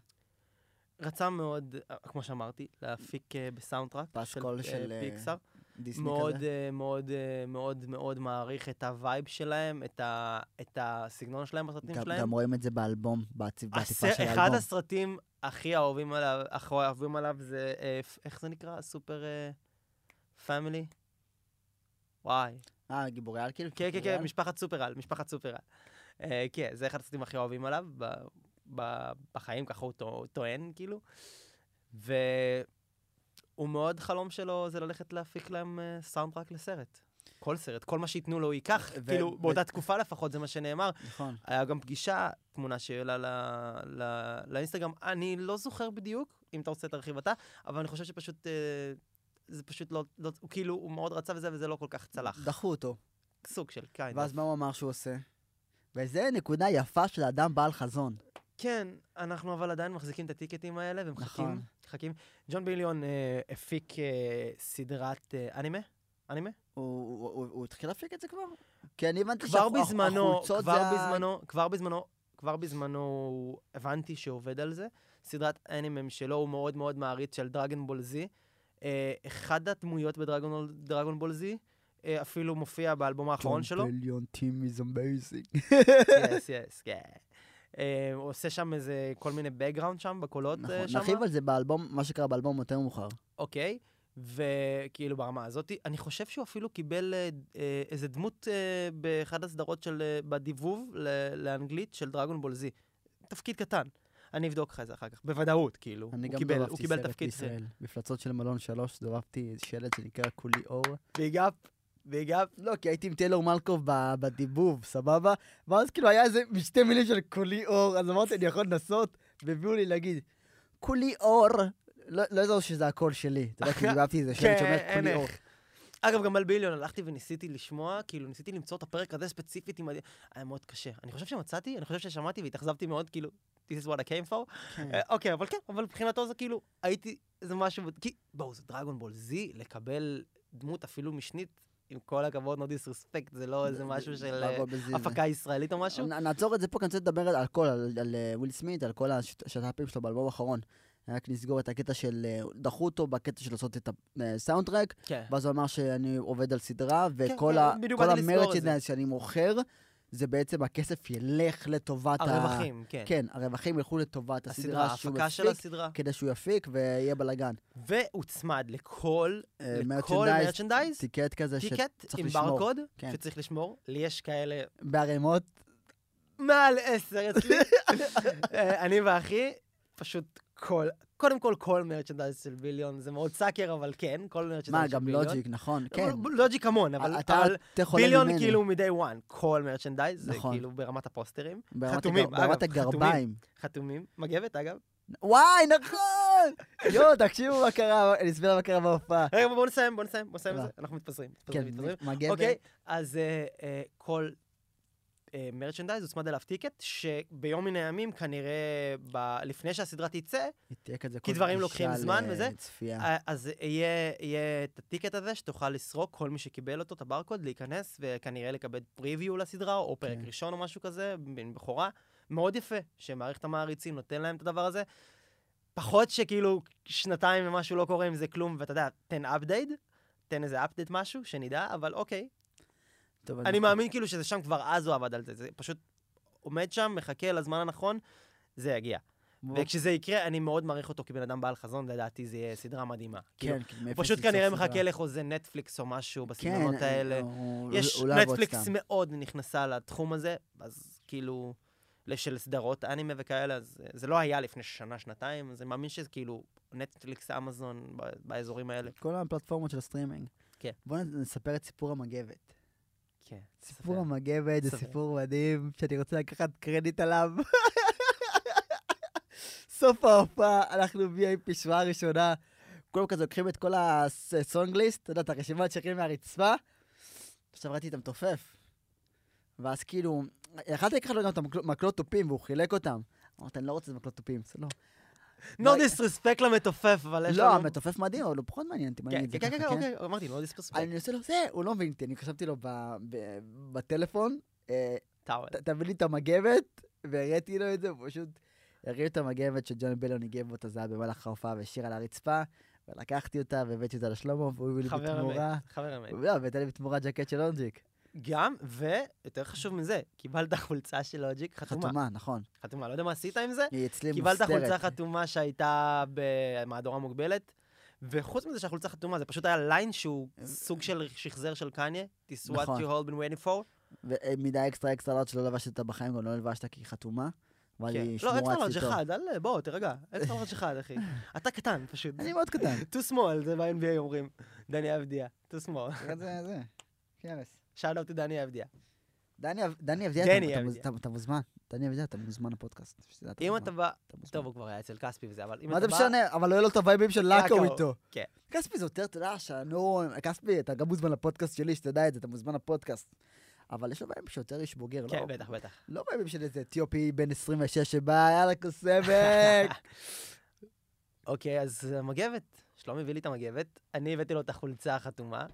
רצה מאוד, אה, כמו שאמרתי, להפיק אה, בסאונד טראק
פסקול של,
של אה,
אה,
פיקסאר.
דיסני
מאוד
כזה.
אה, מאוד אה, מאוד מאוד מעריך את הווייב שלהם, את ה- את הסגנון שלהם בסרטים
גם-
שלהם.
גם רואים את זה באלבום, בעציב- בעטיפה
הסר-
של
אחד
האלבום.
הסרטים הכי אהובים עליו, הכי אהובים עליו זה, אה, פ- איך זה נקרא? סופר אה, פאמילי? וואי.
אה, גיבורי על כאילו?
כן, כן,
גיבורי
כן,
על?
משפחת סופרל, משפחת סופרל. אה, כן, זה אחד הסרטים הכי אוהבים עליו ב- ב- בחיים, ככה הוא טוע- טוען, כאילו. והוא מאוד, חלום שלו זה ללכת להפיק להם אה, סאונד רק לסרט. כל סרט, כל מה שייתנו לו הוא ייקח,
ו-
כאילו,
ו-
באותה תקופה לפחות, זה מה שנאמר.
נכון.
היה גם פגישה, תמונה שהעלה ל- ל- לאינסטגרם. אני לא זוכר בדיוק, אם אתה רוצה תרחיב אתה, אבל אני חושב שפשוט, אה, זה פשוט לא, לא- הוא כאילו, הוא מאוד רצה וזה, וזה לא כל כך צלח.
דחו אותו.
סוג של קיינד.
ואז מה הוא אמר שהוא עושה? וזה נקודה יפה של אדם בעל חזון.
כן, אנחנו אבל עדיין מחזיקים את הטיקטים האלה ומחכים.
נכון.
מחכים. ג'ון ביליון אה, הפיק אה, סדרת אה, אנימה? אנימה?
הוא- הוא הוא- הוא התחיל להפיק את זה כבר? כי אני הבנתי
כבר
שהח-
בזמנו,
החולצות
כבר
זה ה-
בזמנו, כבר בזמנו, כבר בזמנו הבנתי שעובד על זה. סדרת אנימם שלו הוא מאוד מאוד מעריץ של דרגון בול זי. אה, אחד הדמויות בדרגון בול זי אה, אפילו מופיע באלבום האחרון שלו.
ג'ון ביליון טים is amazing.
יס, יס, כן. אה, הוא עושה שם איזה כל מיני background שם, בקולות
נכון,
אה, שם.
נרחיב על זה באלבום, מה שקרה באלבום יותר מאוחר.
אוקיי? וכאילו ברמה הזאת, אני חושב שהוא אפילו קיבל אה, אה, איזה דמות אה, באחד הסדרות של, אה, בדיבוב ל- לאנגלית של דרגון בול זי. תפקיד קטן. אני אבדוק לך את זה אחר כך, בוודאות, כאילו.
אני
הוא
גם
קיבל, הוא
דובבתי
קיבל
סרט
תפקיד סרט.
בישראל. מפלצות של מלון שלוש, דובבתי שלט שנקרא כולי אור.
ביג אפ, ביג אפ.
לא, כי הייתי עם טיילור מלקוב ב- בדיבוב, סבבה? ואז כאילו היה איזה שתי מילים של כולי אור, אז אמרתי, אני יכול לנסות? והביאו לי להגיד, כולי אור. לא לא ידעו שזה הקול שלי. אתה יודע, כאילו דובבתי איזה שלט שאומר
כן,
כולי
אין
אור.
אגב, גם על ביליון הלכתי וניסיתי לשמוע, כאילו, ניסיתי למצוא את הפרק הזה ספציפית, עם... ה- היה מאוד קשה. אני חושב שמצאתי, אני חושב ששמעתי והתאכזבתי מאוד, כאילו, this is what I came for. אה, אוקיי, אבל כן, אבל מבחינתו זה כאילו, הייתי, זה משהו, כי, בואו, זה דרגון בול זי, לקבל דמות אפילו משנית, עם כל הכבוד, no disrespect, זה לא איזה משהו של אה,
דרגו בזיו.
הפקה ישראלית או משהו.
נ- נעצור את זה פה, כי אני רוצה לדבר על- על כל, על על, אה, וויל סמית, על כל השת- השת"פים שלו באלבום האחרון. רק נסגור את הקטע של, אה, דחו אותו בקטע של לעשות את הסאונדטרק,
כן.
ואז הוא אמר שאני עובד על סדרה,
כן,
וכל ה-
בדיוק
כל
באתי לסגור את זה.
המרצ'נדייז שאני מוכר, זה בעצם הכסף ילך לטובת ה-
הרווחים, כן.
כן, הרווחים ילכו לטובת
הסדרה,
הסדרה שהוא
ההפקה של
מפיק,
הסדרה.
כדי שהוא יפיק ויהיה בלאגן.
והוצמד לכל
אה,
לכל
merchandise,
merchandise?
טיקט כזה
טיקט
שצריך
עם
לשמור.
ברקוד,
כן.
שצריך לשמור. לי יש כאלה
בערימות,
מעל עשר אצלי. אה, אני ואחי, פשוט כל, קודם כל כל מרצ'נדייז של ביליון, זה מאוד סאקר, אבל כן, כל מרצ'נדייז של ביליון. לא,
מה, גם לוג'יק, נכון, כן.
לוג'יק המון, אבל
אתה
אבל
יותר חולה
ביליון
ממני.
כאילו מ-day one, כל מרצ'נדייז, זה
נכון.
כאילו ברמת הפוסטרים.
ברמת
חתומים,
הגר- ברמת
אגב, חתומים.
הגרביים.
חתומים, מגבת אגב.
וואי, נכון! יואו, תקשיבו מה קרה, אני אסביר מה קרה בהופעה.
רגע, בואו נסיים, בואו נסיים, בואו נסיים את
לא.
זה, אנחנו מתפזרים,
כן,
מתפזרים, מתפזרים.
מה גבר?
אוקיי, אז אה, אה, כל אה, מרצ'נדייז הוצמד אליו טיקט, שביום מן הימים כנראה, ב- לפני שהסדרה תצא,
תהיה כזה
כי
כל
דברים
פגישה
לוקחים זמן
ל-
וזה.
צפייה.
אה, אז יהיה, יהיה את הטיקט הזה שתוכל לסרוק, כל מי שקיבל אותו, את הברקוד, להיכנס וכנראה לקבל פריוויו לסדרה, או פרק
כן.
ראשון או משהו כזה, בן בכורה. מאוד יפה, שמערכת המעריצים נותן להם את הדבר הזה. פחות שכאילו שנתיים ומשהו לא קורה עם זה כלום, ואתה יודע, תן אפדייט, תן איזה אפדייט משהו, שנדע, אבל אוקיי.
טוב,
אני מאמין כאילו שזה שם כבר אז הוא עבד על זה, זה פשוט עומד שם, מחכה לזמן הנכון, זה יגיע.
בוא-
וכשזה יקרה, אני מאוד מעריך אותו כבן אדם בעל חזון, לדעתי זה יהיה סדרה מדהימה. כאילו,
כן, כאילו,
הוא פשוט
מאפס
כנראה
לסוף
מחכה
סדרה.
לחוזה נטפליקס או משהו
כן,
בסגנונות האלה.
הוא-
יש,
הוא לא יעבוד
נטפליקס
סתם.
מאוד נכנסה לתחום הזה, אז כאילו, של סדרות אנימה וכאלה, אז אה, זה לא היה לפני שנה, שנתיים, אז אני מאמין שזה כאילו נטפליקס, אמזון, ב- באזורים האלה.
כל הפלטפורמות של הסטרימינג.
כן.
בואו נספר את סיפור המגבת.
כן.
סיפור המגבת זה
ספר.
סיפור מדהים, שאני רוצה לקחת קרדיט עליו. סוף ההופעה, הלכנו VIP שורה ראשונה, כולם כזה לוקחים את כל הסונגליסט, אתה יודע, את הרשימת שירים מהרצפה. עכשיו ראיתי את המתופף. ואז כאילו, יכלתי לקחת לו גם את המקל- מקלות תופים, והוא חילק אותם. אמרתי, אני לא רוצה את המקלות תופים. אז לא.
No
ביי.
disrespect למתופף, אבל יש
אה, לא,
לנו...
המתופף מדהים, אבל הוא פחות מעניין אותי. מעניין
כן,
את זה
כן, כן,
ככה,
כן, אוקיי, אמרתי, no disrespect.
אני עושה לו, זה, הוא לא מבין אותי, אני חשבתי לו ב- ב- בטלפון, אה,
טאוול.
ת- תביא לי את המגבת, והראיתי לו את זה, הוא פשוט הרים את המגבת שג'ון בלון ניגב בו את הזהב במהלך ההופעה והשאיר על הרצפה, ולקחתי אותה והבאתי אותה לשלמה, והוא הביא לי
חבר
בתמורה.
אמת, חבר אמת.
לא, הבאת לי בתמורה ג'קט של לונג'יק.
גם, ויותר חשוב מזה, קיבלת חולצה של לוג'יק חתומה.
חתומה, נכון.
חתומה, לא יודע מה עשית עם זה.
היא אצלי מוסתרת.
קיבלת חולצה חתומה שהייתה במהדורה מוגבלת, וחוץ מזה שהחולצה חתומה, זה פשוט היה ליין שהוא סוג של שחזר של קניה, This is what
אה, נכון.
you all been waiting for.
ומידה אה, אקסטרה אקסטרה לארג' שלא לבשת אותה בחיים, גם לא לבשת כי היא חתומה. אבל
כן.
היא
לא,
שמורה
אקסטרה
אצלי
לארג'
טוב.
אחד, אל- בוא, תירגע. אקסטרה לארג' אחד, אחי. אתה קטן, פשוט.
אני מאוד קטן.
too small, זה ב-NBA אומרים. דני אבדיה, too small.
זה, זה. כנס.
שאל אותי דני אבדיה.
דני אב- דני אבדיה,
דני
אתה- אתה מוז-
אבדיה.
אתה- אתה מוזמן. דני אבדיה, אתה מוזמן לפודקאסט. שתדע,
אם
מוזמן.
אתה בא...
מוזמן.
טוב, הוא כבר היה אצל כספי וזה, אבל אם
מה
אתה
זה
בא...
משנה? אבל לא יהיה לו את הווייבים של לקו
לקו,
איתו.
כן.
כספי זה יותר, אתה יודע, שנו, כספי, אתה גם מוזמן לפודקאסט שלי, שתדע את זה, אתה מוזמן לפודקאסט. אבל יש לו וייבים שיותר איש בוגר, לא?
כן, בטח, בטח.
לא וייבים של איזה אתיופי בן 26 שבא, יאללה, קוסמק.
אוקיי, אז המגבת. שלומי הביא לי את המגבת, אני הבאתי לו את החולצה החתומה,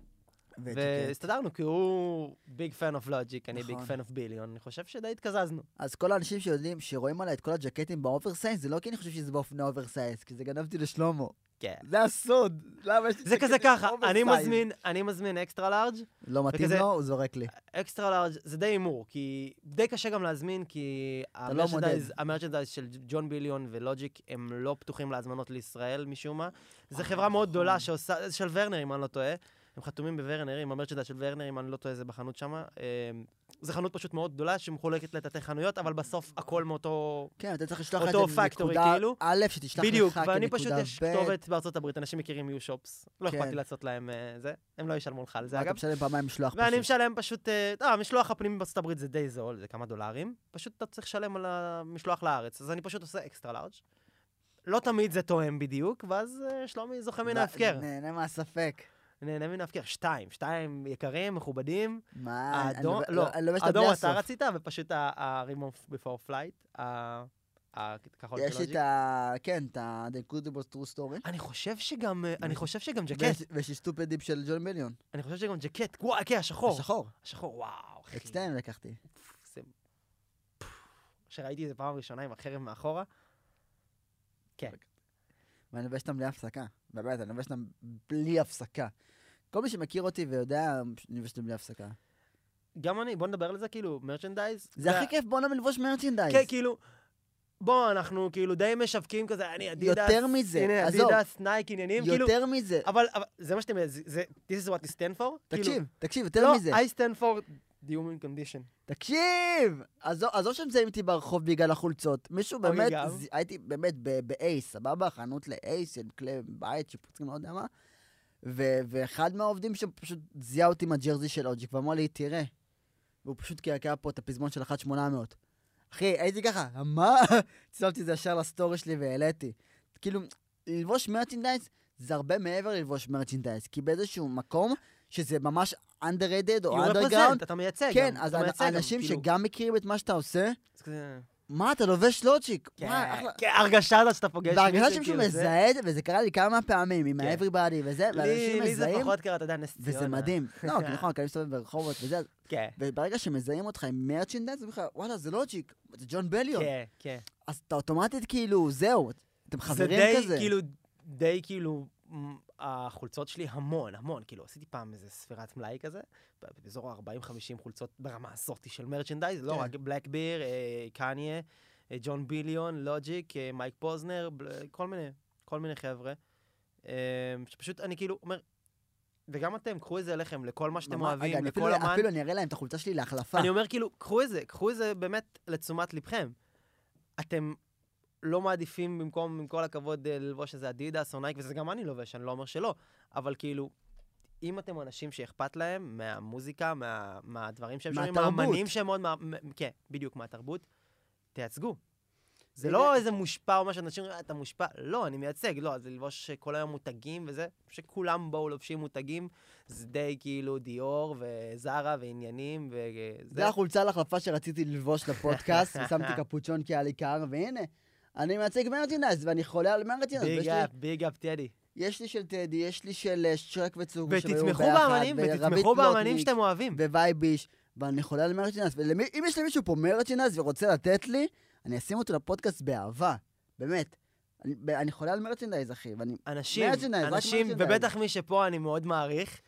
ו-
והסתדרנו, כי הוא ביג פן אוף לוג'יק, אני ביג
כן. נכון.
פן אוף ביליון, אני חושב שדי התקזזנו.
אז כל האנשים שיודעים, שרואים עליי את כל הג'קטים באוברסייז, זה לא כי אני חושב שזה באופני אוברסייז, כי זה גנבתי לשלומו.
כן.
זה הסוד. למה יש לי
זה
ג'קטים
כזה ככה, אני
אוברסייז?
מזמין, אני מזמין אקסטרה לארג',
לא מתאים
וכזה-
לו, הוא זורק לי.
אקסטרה לארג' זה די הימור, כי די קשה גם להזמין, כי
לא
המרצ'נדייז-
מודד.
המרצ'נדייז של ג'ון ביליון ולוג'יק הם לא פתוחים להזמנות לישראל משום מה. זו
אה,
חברה מאוד
נכון.
גדולה שעושה, של ורנר אם אני לא טועה. הם חתומים בוורנר, עם המרצ'נדייז של ורנר אם אני לא טועה זה בחנות שמה. אמ, זו חנות פשוט מאוד גדולה שמחולקת לתתי חנויות, אבל בסוף הכל מאותו...
כן, אתה צריך לשלוח את
אותו
זה
factory,
לנקודה
כאילו.
א', שתשלח לך
בדיוק,
כנקודה ב'.
ואני פשוט, יש כתובת בארצות הברית, אנשים מכירים יו שופס. לא
כן.
אכפת לי לעשות להם אה, זה, הם לא ישלמו לך על זה
ואתה
אגב.
משלם פעמיים משלוח
ואני
פשוט.
משלם פשוט, אה, אה, המשלוח הפנימי בארצות הברית זה די זול, זה כמה דולרים. פשוט אתה צריך לשלם על המשלוח לארץ, אז אני פשוט עושה אקסטרה לארג'. לא תמיד זה תואם בדיוק, ואז אה, שלומי זוכה מן
נה-
ההפקר.
לא, נהנה מהספק.
נהנה מן ההפקר. שתיים, שתיים יקרים, מכובדים.
מה? אני
האדום-
לובש-
לא,
אני לובש את
אדום
הבלי
אתה
הסוף.
רצית, ופשוט ה-remove before flight, ה- הכחול
יש
של
לי את
לוג'יק.
ה... כן, את ה... The Incredible True Story.
אני חושב שגם, אה, אני חושב שגם
ויש-
ג'קט,
ויש לי סטופדים של ג'ון מיליון.
אני חושב שגם ג'קט, וואי, כן, השחור.
שחור.
השחור, וואו, אחי.
את שתיהם לקחתי.
זה... כשראיתי את זה פעם ראשונה עם החרב מאחורה,
ואני לובש אותם בלי הפסקה. באמת, אני לובש אותם בלי הפסקה. כל מי שמכיר אותי ויודע, אני לובש אותם בלי הפסקה.
גם אני, בוא נדבר על זה, כאילו, מרצ'נדייז.
זה הכי כיף, בואו נלבש ללבוש מרצ'נדייז.
כן, כאילו, בוא, אנחנו כאילו די משווקים כזה, אני אדידס.
יותר מזה,
הנה,
עזוב.
אדידס, נייק, עניינים, כאילו.
יותר מזה.
אבל, אבל זה מה שאתם, זה, זה, this is what you stand for?
תקשיב,
כאילו,
תקשיב, יותר
לא,
מזה. Oh,
I stand for the human condition.
תקשיב! עזוב עזוב שמזהים אותי ברחוב בגלל החולצות. מישהו
אוי,
באמת,
גב.
ז- הייתי באמת ב- באייס, סבבה? חנות לאייס של כלי בית שפוצרים, לא יודע מה. ו- ואחד מהעובדים שם פשוט זיהה אותי עם הג'רזי של אוג'יק ואמר לי, תראה. והוא פשוט קעקע פה את הפזמון של 1800. אחי, הייתי ככה, מה? צילמתי את זה ישר לסטורי שלי והעליתי. כאילו, ללבוש מרצ'נדייז זה הרבה מעבר ללבוש מרצ'נדייז, כי באיזשהו מקום שזה ממש underrated או
You
underground,
represent, אתה מייצג
כן,
גם.
אז
אתה
האנ-
מייצג גם,
האנשים
כאילו.
שגם מכירים את מה שאתה עושה,
זה כזה-
מה, אתה לובש לוג'יק?
כן,
מה, אחלה.
כן, הרגשה הזאת שאתה פוגש
בהרגשה
מישהו,
שמישהו
כאילו, זה-
מזהה את זה, וזה קרה לי כמה פעמים, עם
כן.
ה-Everybody וזה,
לי
ואנשים
לי זה
מזהים,
פחות קרה, אתה יודע, נס ציונה.
וזה מדהים. לא, כי נכון, כי אני מסתובב ברחובות וזה, אז-
כן,
וברגע שמזהים אותך עם מרצ'נדס, אומרים לך, וואלה, זה לוג'יק, זה ג'ון בליון.
כן, כן.
אז אתה אוטומטית כאילו, זהו, אתם חברים
זה די,
כזה.
כאילו, די כאילו, מ, החולצות שלי המון, המון, כאילו, עשיתי פעם איזה ספירת מלאי כזה, ב- באזור ה-40-50 חולצות ברמה הזאתי של מרצ'נדייז, לא
כן.
רק בלק ביר, אה, קניה, אה, ג'ון ביליון, לוג'יק, אה, מייק פוזנר, בל- כל מיני, כל מיני חבר'ה. אה, שפשוט אני כאילו אומר, וגם אתם, קחו את זה אליכם, לכל מה שאתם
ממש- רגע,
אוהבים,
אני
לכל
אפילו-
אמן.
אפילו אני אראה להם את החולצה שלי להחלפה.
אני אומר כאילו, קחו את זה, קחו את זה באמת לתשומת לבכם. אתם לא מעדיפים במקום, עם כל הכבוד, אה, ללבוש איזה אדידס או נייק, וזה גם אני לובש, אני לא אומר שלא, אבל כאילו, אם אתם אנשים שאכפת להם מהמוזיקה, מה, מהדברים שהם שומעים,
מהתרבות.
מהאמנים שהם מאוד, מה, מ- כן, בדיוק, מהתרבות, תייצגו. זה
הנה-
לא איזה מושפע או משהו, אנשים אומרים, "אה, אתה מושפע, לא, אני מייצג, לא, זה ללבוש כל היום מותגים וזה, שכולם באו לובשים מותגים, זה די כאילו דיור וזרה ועניינים וזה.
זה החולצה להחלפה שרציתי ללבוש לפודקאסט, ושמתי קפוצ'ון כי היה לי קר, והנה, אני מייצג מרצ'נדייז, ואני חולה על מרצ'נדייז. ויש
ביג
לי-
אפ, ביג אפ, טדי.
יש לי של טדי, יש לי של אה, שרק וצור,
ותתמכו באמנים, ותתמכו באמנים שאתם אוהבים.
ווייביש, ואני חולה על מרצ'נדייז. ואם יש למישהו פה מרצ'נדייז ורוצה לתת לי, אני אשים אותו לפודקאסט באהבה, באמת. אני- ב- אני חולה על מרצ'נדייז, אחי, ואני...
אנשים,
מרצ'נדייז, רק
אנשים,
מרצ'נדייז.
ובטח מי שפה אני מאוד מעריך,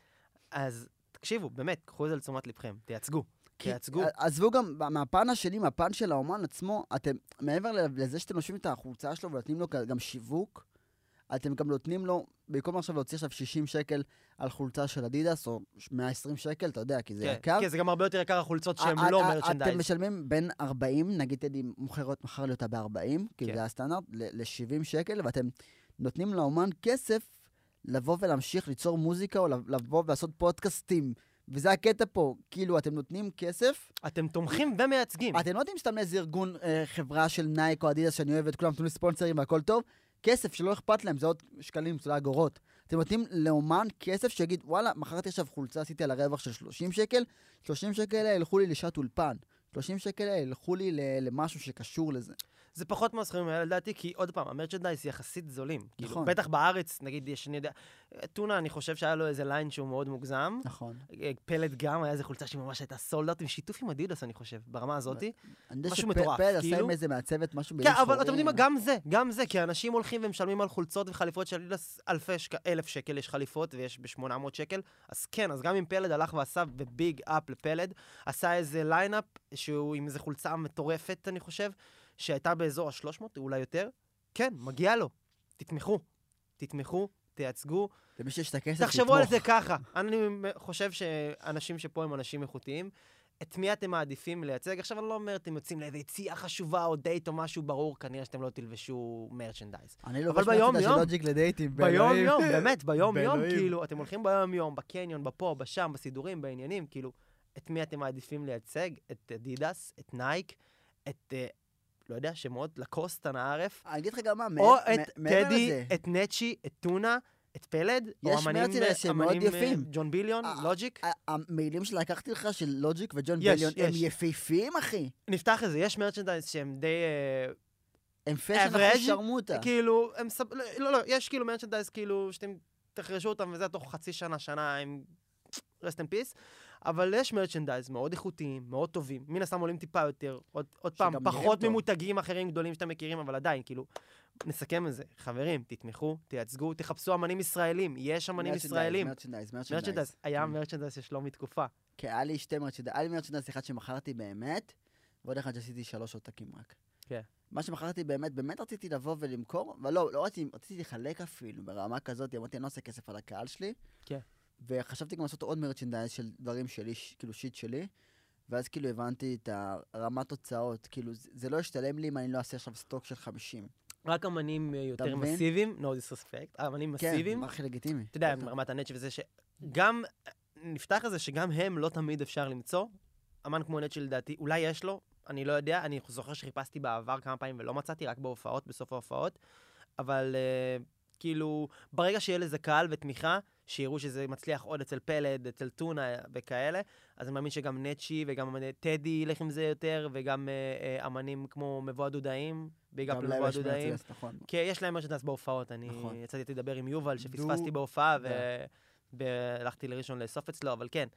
אז תקשיבו, באמת, קחו את זה לתשומת לבכם, תייצגו,
כי-
תייצגו.
עזבו גם מה- מהפן השני, מהפן של האומן עצמו, אתם, מעבר ל- לזה שאתם נושמים את החולצה שלו ונותנים לו כ- גם שיווק, אתם גם נותנים לו, במקום עכשיו להוציא עכשיו 60 שקל על חולצה של אדידס, או 120 שקל, אתה יודע, כי זה
כן,
יקר.
כן, זה גם הרבה יותר יקר החולצות שהן
א-
לא
א- א- אתם
מרצ'נדייז.
משלמים בין 40, נגיד טדי מוכרת, מכר לי אותה ב-40, כי
כן.
זה הסטנדרט, ל-70 שקל, ואתם נותנים לאומן כסף לבוא ולהמשיך ליצור מוזיקה, או לב- לבוא ולעשות פודקאסטים וזה הקטע פה, כאילו, אתם נותנים כסף,
אתם תומכים ומייצגים.
אתם לא יודעים סתם איזה ארגון, אה, חברה של נייק או אדידס שאני אוהב את כולם, נתנו לי ספונסרים והכל טוב, כסף שלא אכפת להם, זה עוד שקלים, זה לא אגורות. אתם נותנים לאומן כסף שיגיד, וואלה, מכרתי עכשיו חולצה, עשיתי על הרווח של 30 שקל, 30 שקל האלה ילכו לי לשעת אולפן, 30 שקל האלה ילכו לי ל- למשהו שקשור לזה.
זה פחות מהסכומים האלה לדעתי, כי עוד פעם, המרצ'נדייז יחסית זולים. כאילו,
נכון.
בטח בארץ, נגיד, יש, אני יודע, טונה, אני חושב שהיה לו איזה ליין שהוא מאוד מוגזם.
נכון.
אה, פלט גם, היה איזה חולצה שממש הייתה סולדאט, עם שיתוף עם אדידס, אני חושב, ברמה הזאתי.
אני יודע
משהו
שפ-
מטורף,
פלד עשה
כאילו.
עם איזה מעצבת משהו
כן,
בעיר
אבל אתם יודעים מה,
שחורים.
גם זה, גם זה, כי אנשים הולכים ומשלמים על חולצות וחליפות של אדידס אלפי שק... אלף שקל, יש חליפות ויש ב-800 שקל, אז כן, אז גם אם פלד הלך ועשה בביג אפ לפלד, עשה איזה ליינאפ שהוא עם איזה חולצה מטורפת, אני חושב, שהייתה באזור ה-300, אולי יותר, כן, מגיע לו, תתמכו, תתמכו, תייצגו,
למי שיש את הכסף,
תחשבו על
לתמוך.
זה ככה. אני חושב שאנשים שפה הם אנשים איכותיים. את מי אתם מעדיפים לייצג? עכשיו אני לא אומר, אתם יוצאים לאיזה יציאה חשובה או דייט או משהו, ברור, כנראה שאתם לא תלבשו מרצ'נדייז.
אני לובש
ביום
מעצבת של
יום.
לוג'יק לדייטים. באלוהים.
ביום-יום, באמת, ביום-יום,
באלוהים.
כאילו, אתם הולכים ביום-יום, בקניון, בפה, בשם, בסידורים, בעניינים, כאילו, את מי אתם מעדיפים לייצג? את אדידס, את נייק, את, אה, לא יודע, שמות, לקוסטן הערף,
אני אגיד לך גם מה,
או
מעבר-
את
מעבר
טדי,
לזה,
את נצ'י, את טונה, את פלד, או
יש
אמנים,
מרצ'נדייז שהם מאוד
אמנים, אה,
יפים.
ג'ון ביליון,
אה,
לוג'יק.
ה- המילים שלקחתי לך של לוג'יק וג'ון
יש,
ביליון, הם
יש.
יפיפים, אחי.
נפתח את זה, יש מרצ'נדייז שהם די... אה,
הם פשן אחרי
Average?
שרמוטה.
כאילו, הם סב... לא, לא, לא, יש כאילו מרצ'נדייז כאילו שאתם תחרשו אותם וזה תוך חצי שנה, שנה הם rest in peace, אבל יש מרצ'נדייז מאוד איכותיים, מאוד טובים, מן הסתם עולים טיפה יותר, עוד, עוד
שגם
פעם,
נראים
פחות
טוב.
ממותגים אחרים גדולים שאתם מכירים, אבל עדיין, כאילו, נסכם את זה. חברים, תתמכו, תייצגו, תחפשו אמנים ישראלים, יש אמנים
מרצ'נדייז,
ישראלים.
מרצ'נדייז, מרצ'נדייז.
מרצ'נדייז, היה
Mm.
מרצ'נדייז של שלומי תקופה.
כן, היה לי שתי מרצ'נדייז. היה לי מרצ'נדייז אחד שמכרתי באמת, ועוד אחד שעשיתי שלוש עותקים רק.
כן.
מה שמכרתי באמת, באמת רציתי לבוא ולמכור, אבל לא, לא רציתי, רציתי לחלק אפילו, ברמה כזאת, אמרתי, אני לא עושה כסף על הקהל שלי.
כן.
וחשבתי גם לעשות עוד מרצ'נדייז של דברים שלי, ש- כאילו שיט שלי, ואז כאילו הבנתי את הרמת הוצאות, כאילו, זה זה לא ישתלם לי אם אני לא אעשה עכשיו סטוק של 50.
רק אמנים אה, יותר
מבין?
מסיביים, no disrespect, אמנים מסיביים.
כן, הכי לגיטימי.
אתה יודע, רמת הנצ' וזה שגם, נפתח את זה שגם הם לא תמיד אפשר למצוא. אמן כמו נצ' לדעתי, אולי יש לו, אני לא יודע, אני זוכר שחיפשתי בעבר כמה פעמים ולא מצאתי, רק בהופעות, בסוף ההופעות, אבל אה, כאילו, ברגע שיהיה לזה קהל ותמיכה, שיראו שזה מצליח עוד אצל פלד, אצל טונה וכאלה, אז אני מאמין שגם נצ'י וגם אה, טדי ילך עם זה יותר, וגם אה, אה, אמנים כמו מבוא הדודאים, ביג אפ
גם להם
לבוא
יש
הדודאים.
מרצ'נדייז, נכון.
כי יש להם מרצ'נדס בהופעות, אני
נכון.
יצאתי לדבר עם יובל
דו-
שפספסתי בהופעה,
דה.
והלכתי לראשון לאסוף אצלו, אבל כן,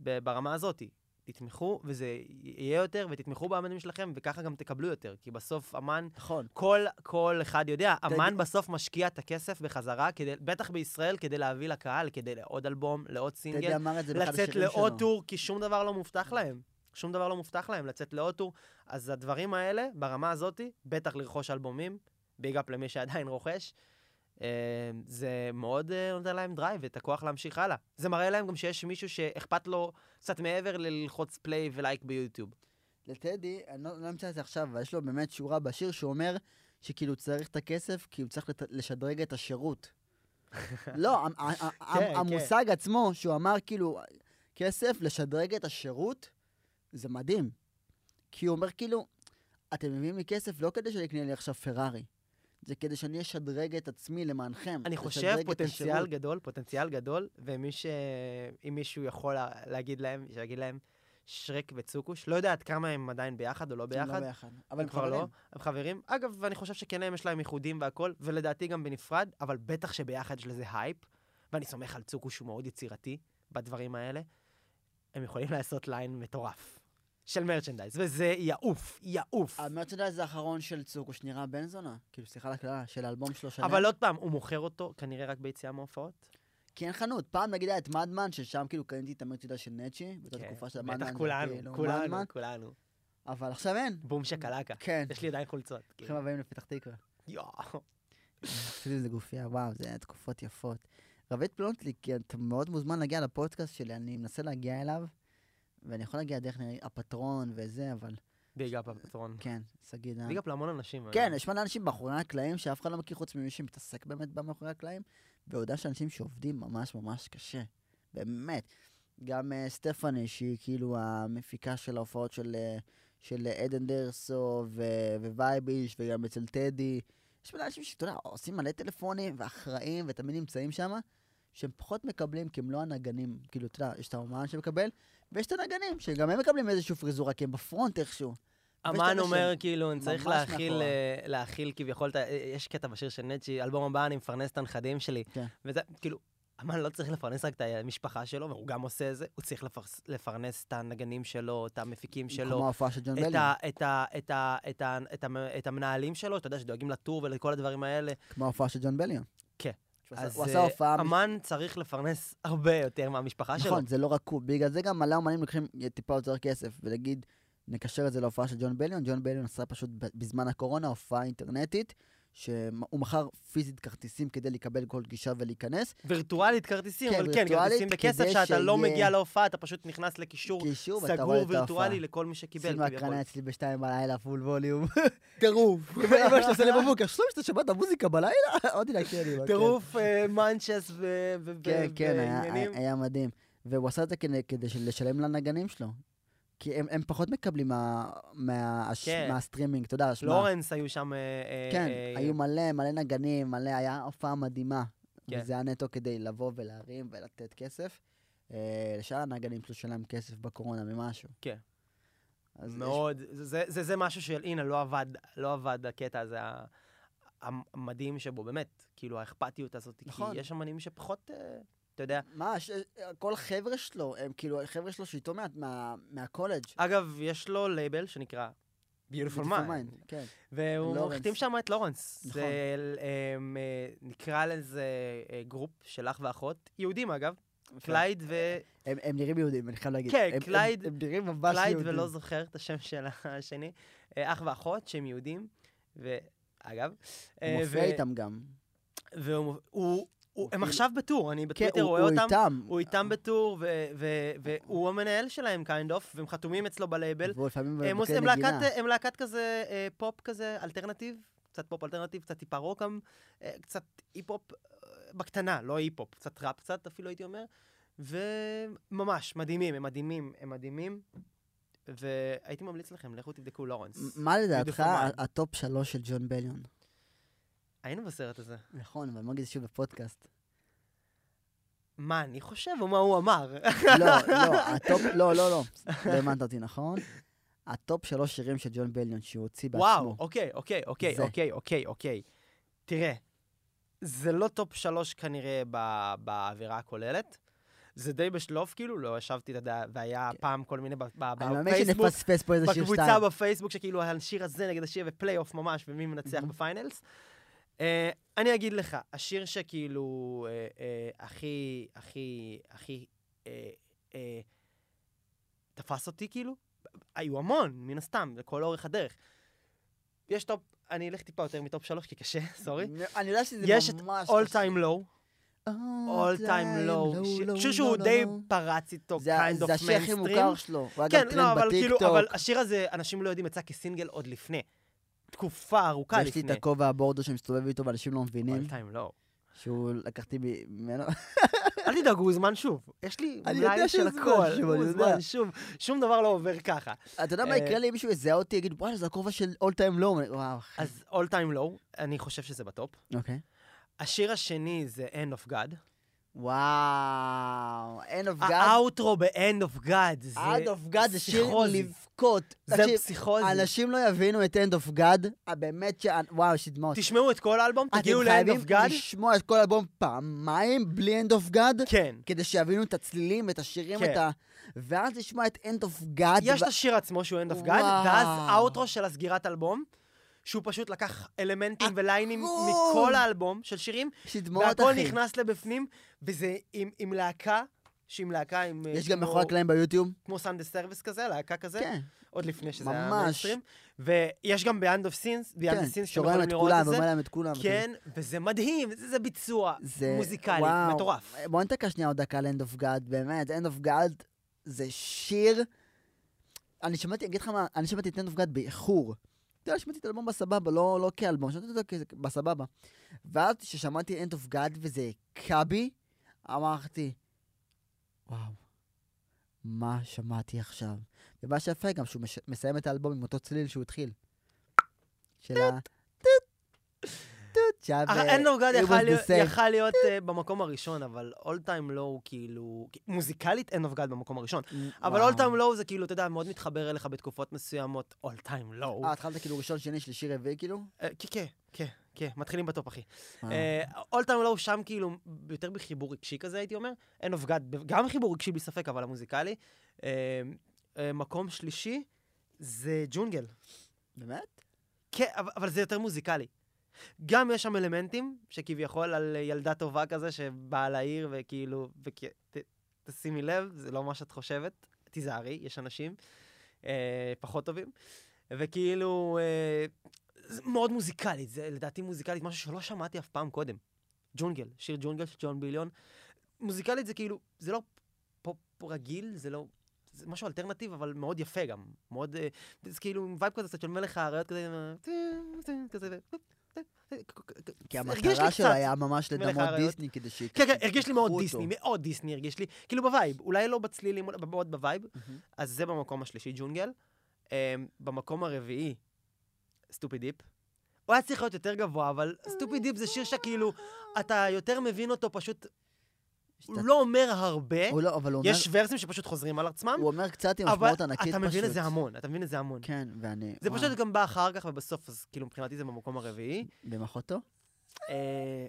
ב- ברמה הזאת, תתמכו, וזה יהיה יותר, ותתמכו באמנים שלכם, וככה גם תקבלו יותר, כי בסוף אמן...
נכון.
כל, כל אחד יודע,
תגיד-
אמן בסוף משקיע את הכסף בחזרה, כדי, בטח בישראל, כדי להביא לקהל, כדי לעוד אלבום, לעוד סינגל,
טדי אמר את זה באחד השירים
לצאת
שלו.
לעוד טור, כי שום דבר לא מובטח להם. שום דבר לא מובטח להם, לצאת לעוד טור. אז הדברים האלה, ברמה הזאת, בטח לרכוש אלבומים, ביג אפ למי שעדיין רוכש, אה, זה מאוד אה, נותן להם דרייב ואת הכוח להמשיך הלאה. זה מראה להם גם שיש מישהו שאכפת לו קצת מעבר ללחוץ פליי ולייק ביוטיוב.
לטדי, אני לא לא אמצא את זה עכשיו, אבל יש לו באמת שורה בשיר שאומר שכאילו צריך את הכסף, כי הוא צריך לת- לשדרג את השירות. לא, המ- ה- ה-
כן.
המושג עצמו, שהוא אמר כאילו, כסף, לשדרג את השירות, זה מדהים. כי הוא אומר כאילו, אתם מביאים לי כסף לא כדי שאני אקנה לי עכשיו פרארי, זה כדי שאני אשדרג את עצמי למענכם.
אני חושב
לשדרג את
פוטנציאל
השירות.
גדול, פוטנציאל גדול, ומי ש... אם מישהו יכול לה- להגיד להם, שיגיד להם שרק וצוקוש, לא יודע עד כמה הם עדיין ביחד או לא
הם לא
ביחד.
ביחד. אבל הם
כבר לא,
חברים.
הם חברים. אגב, ואני חושב שכן להם יש להם ייחודים והכול, ולדעתי גם בנפרד, אבל בטח שביחד יש לזה הייפ, ואני סומך על צוקו שהוא מאוד יצירתי בדברים האלה. הם יכולים לעשות ליין מטורף של מרצ'נדייז, וזה יעוף, יעוף.
אה, המרצ'נדייז האחרון של צוקוש נראה בן זונה, כאילו סליחה על הקללה, של האלבום שלו שנה.
אבל לא- עוד פעם, הוא מוכר אותו כנראה רק ביציאה מההופעות.
כי אין חנות. פעם נגיד היה את מדמן, ששם כאילו קניתי את המרצ'נדייז של נצ'י, באותה
כן,
תקופה של מדמן.
בטח
זה
כולנו,
כאילו
כולנו,
מדמן,
כולנו.
אבל עכשיו אין.
בום שקלקה.
כן.
יש לי עדיין חולצות. כאילו.
ברוכים הבאים לפתח תקווה.
יואו.
עשיתי איזה גופייה, וואו, זה היה תקופות יפות. רבית פלונטליק, אתה מאוד מוזמן להגיע לפודקאסט שלי, אני מנסה להגיע אליו, ואני יכול להגיע דרך נראה, הפטרון וזה, אבל
ביג אפ הפטרון.
כן, שגיא דן.
ביג אפ להמון אנשים. אה.
כן,
אני-
יש מלא אנשים מאחורי הקלעים שאף אחד לא מכיר חוץ ממי שמתעסק באמת במאחורי הקלעים, והודעה של אנשים שעובדים ממש ממש קשה. באמת. גם אה, סטפני, שהיא כאילו המפיקה של ההופעות של, אה, של אה, עדן דרסו ו- ווייביש, וגם אצל טדי. יש מלא אנשים שאתה יודע, עושים מלא טלפונים ואחראים ותמיד נמצאים שם, שהם פחות מקבלים כי הם לא הנגנים. כאילו, אתה יודע, יש את האומן שמקבל, ויש את הנגנים, שגם הם מקבלים איזושהי פריזורה, כי הם בפרונט איכשהו. ויש את
אמן
אלה
אומר,
שהם
כאילו, אני צריך
ממש
להכיל,
מאחורה.
אה, להכיל כביכול, את ה- אה, יש קטע בשיר של נצ'י, אלבום הבא, אני מפרנס את הנכדים שלי.
כן.
וזה, כאילו, אמן לא צריך לפרנס רק את המשפחה שלו, והוא גם עושה את זה, הוא צריך לפרס- לפרנס את הנגנים שלו, את המפיקים שלו.
כמו ההופעה של ג'ון
את
בלי,
ה- את ה- את ה- את ה- את המ- את המנהלים שלו, שאתה יודע, שדואגים לטור ולכל הדברים האלה.
כמו ההופעה של ג'ון בלי.
כן.
שהוא עשה-
אז,
הוא עשה
אה,
הופעה... מש-
אמן צריך לפרנס הרבה יותר מהמשפחה שלו.
נכון, זה לא רק הוא. בגלל זה גם מלא אומנים לוקחים טיפה יותר כסף, ונגיד, נקשר את זה להופעה של ג'ון בליון. ג'ון בליון עשה פשוט ב- בזמן הקורונה הופעה אינטרנטית, שהוא מכר פיזית כרטיסים כדי לקבל כל גישה ולהיכנס.
וירטואלית כרטיסים,
כן,
אבל כן,
וירטואלית,
כרטיסים בכסף
כדי
שאתה לא
שיהיה-
מגיע להופעה, אתה פשוט נכנס לקישור
קישור, ואתה רואה
סגור
את ההופעה.
וירטואלי לכל מי
קיבל,
שקיבל, כביכול.
הקרנה אצלי בשתיים בלילה, פול ווליום.
טירוף.
אמא שלי עושה לי בבוקר, שלום שאתה שמעת מוזיקה בלילה? אמרתי לה, כן, אמא, כן.
טירוף אה, מנצ'ס ו- ו-
כן,
ו-
כן, היה-
ועניינים.
היה מדהים. והוא עשה את זה כדי- כדי של- לשלם לנגנים שלו. כי הם הם פחות מקבלים מה- מה- הש-
כן.
מהסטרימינג, אתה יודע, השמעה.
לורנס היו שם... אה, אה,
כן,
אה,
היו מלא, מלא נגנים, מלא, היה הופעה מדהימה.
כן.
וזה היה נטו כדי לבוא ולהרים ולתת כסף. אה, לשאר הנגנים פשוט שלהם כסף בקורונה ממשהו.
כן.
אז יש-
מאוד, זה, זה, זה משהו של, הנה, לא עבד, לא עבד הקטע הזה ה- המדהים שבו, באמת, כאילו, האכפתיות הזאת,
נכון.
כי יש אמנים שפחות, אה, אתה יודע.
מה, ש... כל חבר'ה שלו, הם כאילו, החבר'ה שלו שאיתו מה... מה... מהקולג'.
אגב, יש לו לייבל שנקרא Beautiful
Beautiful
Mind,
Mind, כן.
והוא
לורנס.
מחתים שם את לורנס.
נכון.
זה, אה, אה, נקרא לזה אה, גרופ של אח ואחות, יהודים אגב,
כן.
קלייד ו...
הם, הם נראים יהודים, אני חייב להגיד.
כן,
הם,
קלייד-
הם, הם נראים ממש
קלייד
יהודים.
ולא זוכר את השם של השני, אה, אח ואחות שהם יהודים, ואגב,
הוא
אה,
מופיע
ו-
איתם גם.
והוא, הוא, הוא, הם
כאילו-
עכשיו בטור, אני
כן,
בטוויטר רואה
הוא
אותם.
איתם.
הוא איתם בטור, ו- ו- והוא המנהל שלהם, kind of, והם חתומים אצלו בלייבל.
והוא לפעמים
הם עוש-
בכלי
הם להקת- אה,
נגינה.
הם להקת כזה אה, פופ כזה, אלטרנטיב, קצת פופ אלטרנטיב, קצת טיפה רוק גם, אה, קצת אי-פופ אה, בקטנה, לא אי-פופ, קצת ראפ קצת אפילו הייתי אומר, וממש, מדהימים, הם מדהימים, הם מדהימים, והייתי ממליץ לכם, לכו תבדקו לורנס.
מה לדעתך
Mind.
ה- הטופ שלוש של ג'ון בליון?
היינו בסרט הזה.
נכון, אבל אני מרגיש שוב בפודקאסט.
מה אני חושב או מה הוא אמר?
לא, לא, הטופ, לא, לא, לא. לא האמנת אותי, נכון? הטופ שלוש שירים של ג'ון בליון שהוא הוציא בעצמו.
וואו, אוקיי, אוקיי, אוקיי,
זה.
אוקיי, אוקיי, אוקיי. תראה, זה לא טופ שלוש כנראה ב- באווירה הכוללת. זה די בשלוף, כאילו, לא ישבתי, אתה יודע, והיה פעם כל מיני ב- ב-
כן. אני מאמין
אה, בפייסבוק,
שנפספס פה איזה שיר
בקבוצה
שתיים.
בפייסבוק, שכאילו היה השיר הזה נגד השיר ופלייאוף ממש, ומי מנצח
Mhm.
בפיינלס. אה, אני אגיד לך, השיר שכאילו אה, אה, הכי, הכי, הכי אה, אה, תפס אותי, כאילו, היו המון, מן הסתם, לכל אורך הדרך. יש טופ, אני אלך טיפה יותר מטופ שלוש, כי קשה, סורי.
אני יודע שזה
יש את
ממש...
All
קשה.
Time Low, All Time Low, ש-
low,
שיר שהוא
low, low,
די
low.
פרץ איתו,
זה ה-
kind of
זה השיר הכי
mainstream.
מוכר שלו. הוא היה גם
כן, לא,
טרנד
אבל כאילו,
בטיקטוק.
אבל השיר הזה, אנשים לא יודעים, יצא כסינגל עוד לפני. תקופה ארוכה
יש לי
לפני.
את הכובע הבורדו שמסתובב איתו ואנשים לא מבינים,
All time low.
שהוא לקחתי ממנו.
אל תדאג, הוא הוזמן שוב. יש לי
אני
מלאי
יודע
של
שהוא הוזמן
הכל.
שוב,
הוא
אני יודע.
הוזמן שוב. שום דבר לא עובר ככה.
אתה יודע מה
אה,
יקרה לי אם מישהו יזהה אותי, יגיד, וואלה, זה הכובע של All Time Low. וואו, אחי.
אז All time low, אני חושב שזה בטופ.
אוקיי.
השיר השני זה End of God.
וואו, End of God.
האוטרו ב-End of God. זה
אה, End of God זה שיר
פסיכוזי.
לבכות.
זה
תקשיב,
פסיכוזי.
אנשים לא יבינו את End of God, אה, באמת ש... וואו, יש לי דמעות.
תשמעו את כל האלבום,
אתם
תגיעו ל-End
חייבים
of God.
לשמוע את כל האלבום פעמיים בלי End of God,
כן.
כדי שיבינו את הצלילים, את השירים,
כן.
את ה... ואז לשמוע את End of God.
יש
ו-
את השיר עצמו שהוא End of God,
וואו.
ואז האוטרו של הסגירת אלבום, שהוא פשוט לקח אלמנטים וליינים
הכל.
מכל האלבום של שירים,
יש לי דמעות,
והכל
אחי.
נכנס לבפנים, וזה עם, עם להקה, שהיא עם להקה עם... אה,
יש גם
כמו-
מאחורי הקלעים ביוטיוב?
כמו סאנדה סרוויס כזה, להקה כזה,
כן.
עוד לפני שזה היה
ממש.
מיינסטרים. ויש גם ב-End of Sins, ב-End of
כן,
Sins, שאתם
שרואה
יכולים
את
לראות
כולם,
את זה.
אומר להם את כולם.
כן, וזה מדהים, זה, זה ביצוע
זה-
מוזיקלי,
וואו.
מטורף.
בואו נתקע שנייה עוד דקה על End of God, באמת, End of God זה שיר... אני שמעתי, אגיד לך מה, אני שמעתי את End of God באיחור. אתה יודע, שמעתי את האלבום בסבבה, לא, לא כאלבום, שמעתי אותו כזה בסבבה. ואז כששמעתי End of God וזה הכה בי, אמרתי, וואו, מה שמעתי עכשיו. ומה שיפה גם שהוא מש... מסיים את האלבום עם אותו צליל שהוא התחיל. של ה... טוט, שהיה ב-
אה, אין לו גד
It was
יכל
the
להיות-
same.
יכל להיות אה, במקום הראשון, אבל אול טיים לואו כאילו... מוזיקלית אין אוף גד במקום הראשון. אבל
וואו.
אול טיים לואו זה כאילו, אתה יודע, מאוד מתחבר אליך בתקופות מסוימות, אול טיים לואו.
אה, התחלת כאילו ראשון, שני, שלישי, רביעי, כאילו?
אה, כן, כן, כן, כן, מתחילים בטופ, אחי.
וואו.
אה, אול טיים לואו שם כאילו, יותר בחיבור רגשי כזה, הייתי אומר. אין אוף גאד, גם חיבור רגשי בלי ספק, אבל המוזיקלי. אה, אה, מקום שלישי זה ג'ונגל.
באמת?
כן, אבל- אבל זה יותר מוזיקלי. גם יש שם אלמנטים שכביכול על ילדה טובה כזה שבאה לעיר וכאילו, וכ... ת, תשימי לב, זה לא מה שאת חושבת, תיזהרי, יש אנשים אה, פחות טובים. וכאילו, אה, זה מאוד מוזיקלי, זה לדעתי מוזיקלית, משהו שלא שמעתי אף פעם קודם. ג'ונגל, שיר ג'ונגל של ג'ון ביליון. מוזיקלית זה כאילו, זה לא פופ רגיל, זה לא... זה משהו אלטרנטיב, אבל מאוד יפה גם. מאוד... אה, זה כאילו עם וייב כזה קצת של מלך האריות כזה, אה, עם ה- כזה, ו-
כי
הרגיש לי
המטרה שלו
קצת
היה ממש
מלך
לדמות
האריות.
דיסני כדי ש...
כן, כן, הרגיש לי מאוד
אותו.
דיסני, מאוד דיסני הרגיש לי. כאילו בווייב, אולי לא בצלילים, אולי מאוד בווייב.
מהמם.
אז זה במקום השלישי, ג'ונגל. אמ, במקום הרביעי, סטופי דיפ. הוא היה צריך להיות יותר גבוה, אבל סטופי דיפ זה שיר שכאילו, אתה יותר מבין אותו, פשוט, הוא
שאתה-
לא אומר הרבה.
הוא לא, אבל הוא אומר-
יש ורסים שפשוט חוזרים על עצמם,
הוא אומר קצת עם
אבל
משמעות ענקית פשוט.
אתה מבין את זה המון, אתה מבין את זה המון.
כן, ואני...
זה
וואו.
פשוט גם בא אחר כך ובסוף, אז כאילו מבחינתי זה במקום הרביעי.
במחותו?
אה,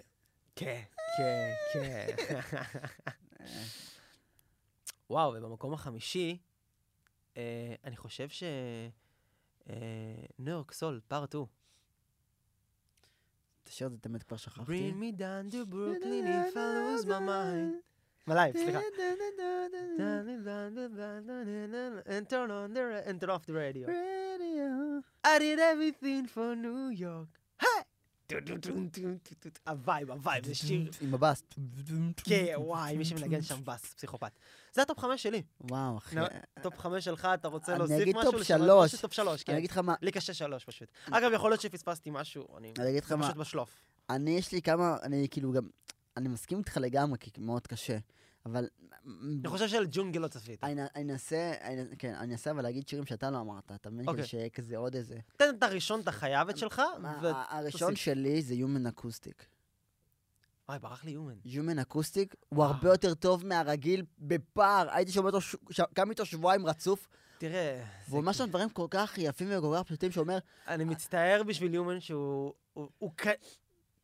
כן, כן, כן. וואו, ובמקום החמישי, אה, אני חושב ש... אה, ניו יורק סול, פארט 2.
את השיר הזה תמיד כבר שכחתי.
Bring me down to Brooklyn if I lose my mind. מלייב, סליחה. And turn on the ra- and turn off the radio. I did everything for New York. היי! טו-טו-טו-טו-טו-טו. הווייב, הווייב, אה, זה שיר.
עם הבאסט.
כן, וואי, מי שמנגן שם בס, פסיכופת. זה הטופ חמש שלי.
וואו, אחי.
נו, טופ חמש שלך, אתה רוצה
אני
להוסיף
אגיד
משהו?
טופ
לשנות
שלוש.
משהו? טופ שלוש,
אני
כן.
אגיד לך מה...
לי קשה שלוש פשוט. אגב, יכול להיות שפספסתי משהו, אני
אני אגיד לך מה...
פשוט בשלוף.
אני, יש לי כמה... אני כאילו גם... אני מסכים איתך לגמרי, כי מאוד קשה. אבל...
אני חושב שעל ג'ונגל לא צפית.
אני אני אנסה, אני- כן, אני אנסה אבל להגיד שירים שאתה לא אמרת, אתה מבין? כדי
אוקיי.
שיהיה כזה עוד איזה.
תן את הראשון, את החייבת שלך, ו...
ה- הראשון
תוסיף.
שלי זה Human Acoustic.
וואי, ברח לי יומן.
Human Acoustic הוא
וואו.
הרבה יותר טוב מהרגיל בפער. הייתי שומע אותו, ש- ש- גם איתו שבועיים רצוף,
תראה, זה-
והוא אה- אומר שם דברים כל כך יפים וכל כך פשוטים, שאומר,
אני מצטער בשביל יומן שהוא... הוא- הוא כ...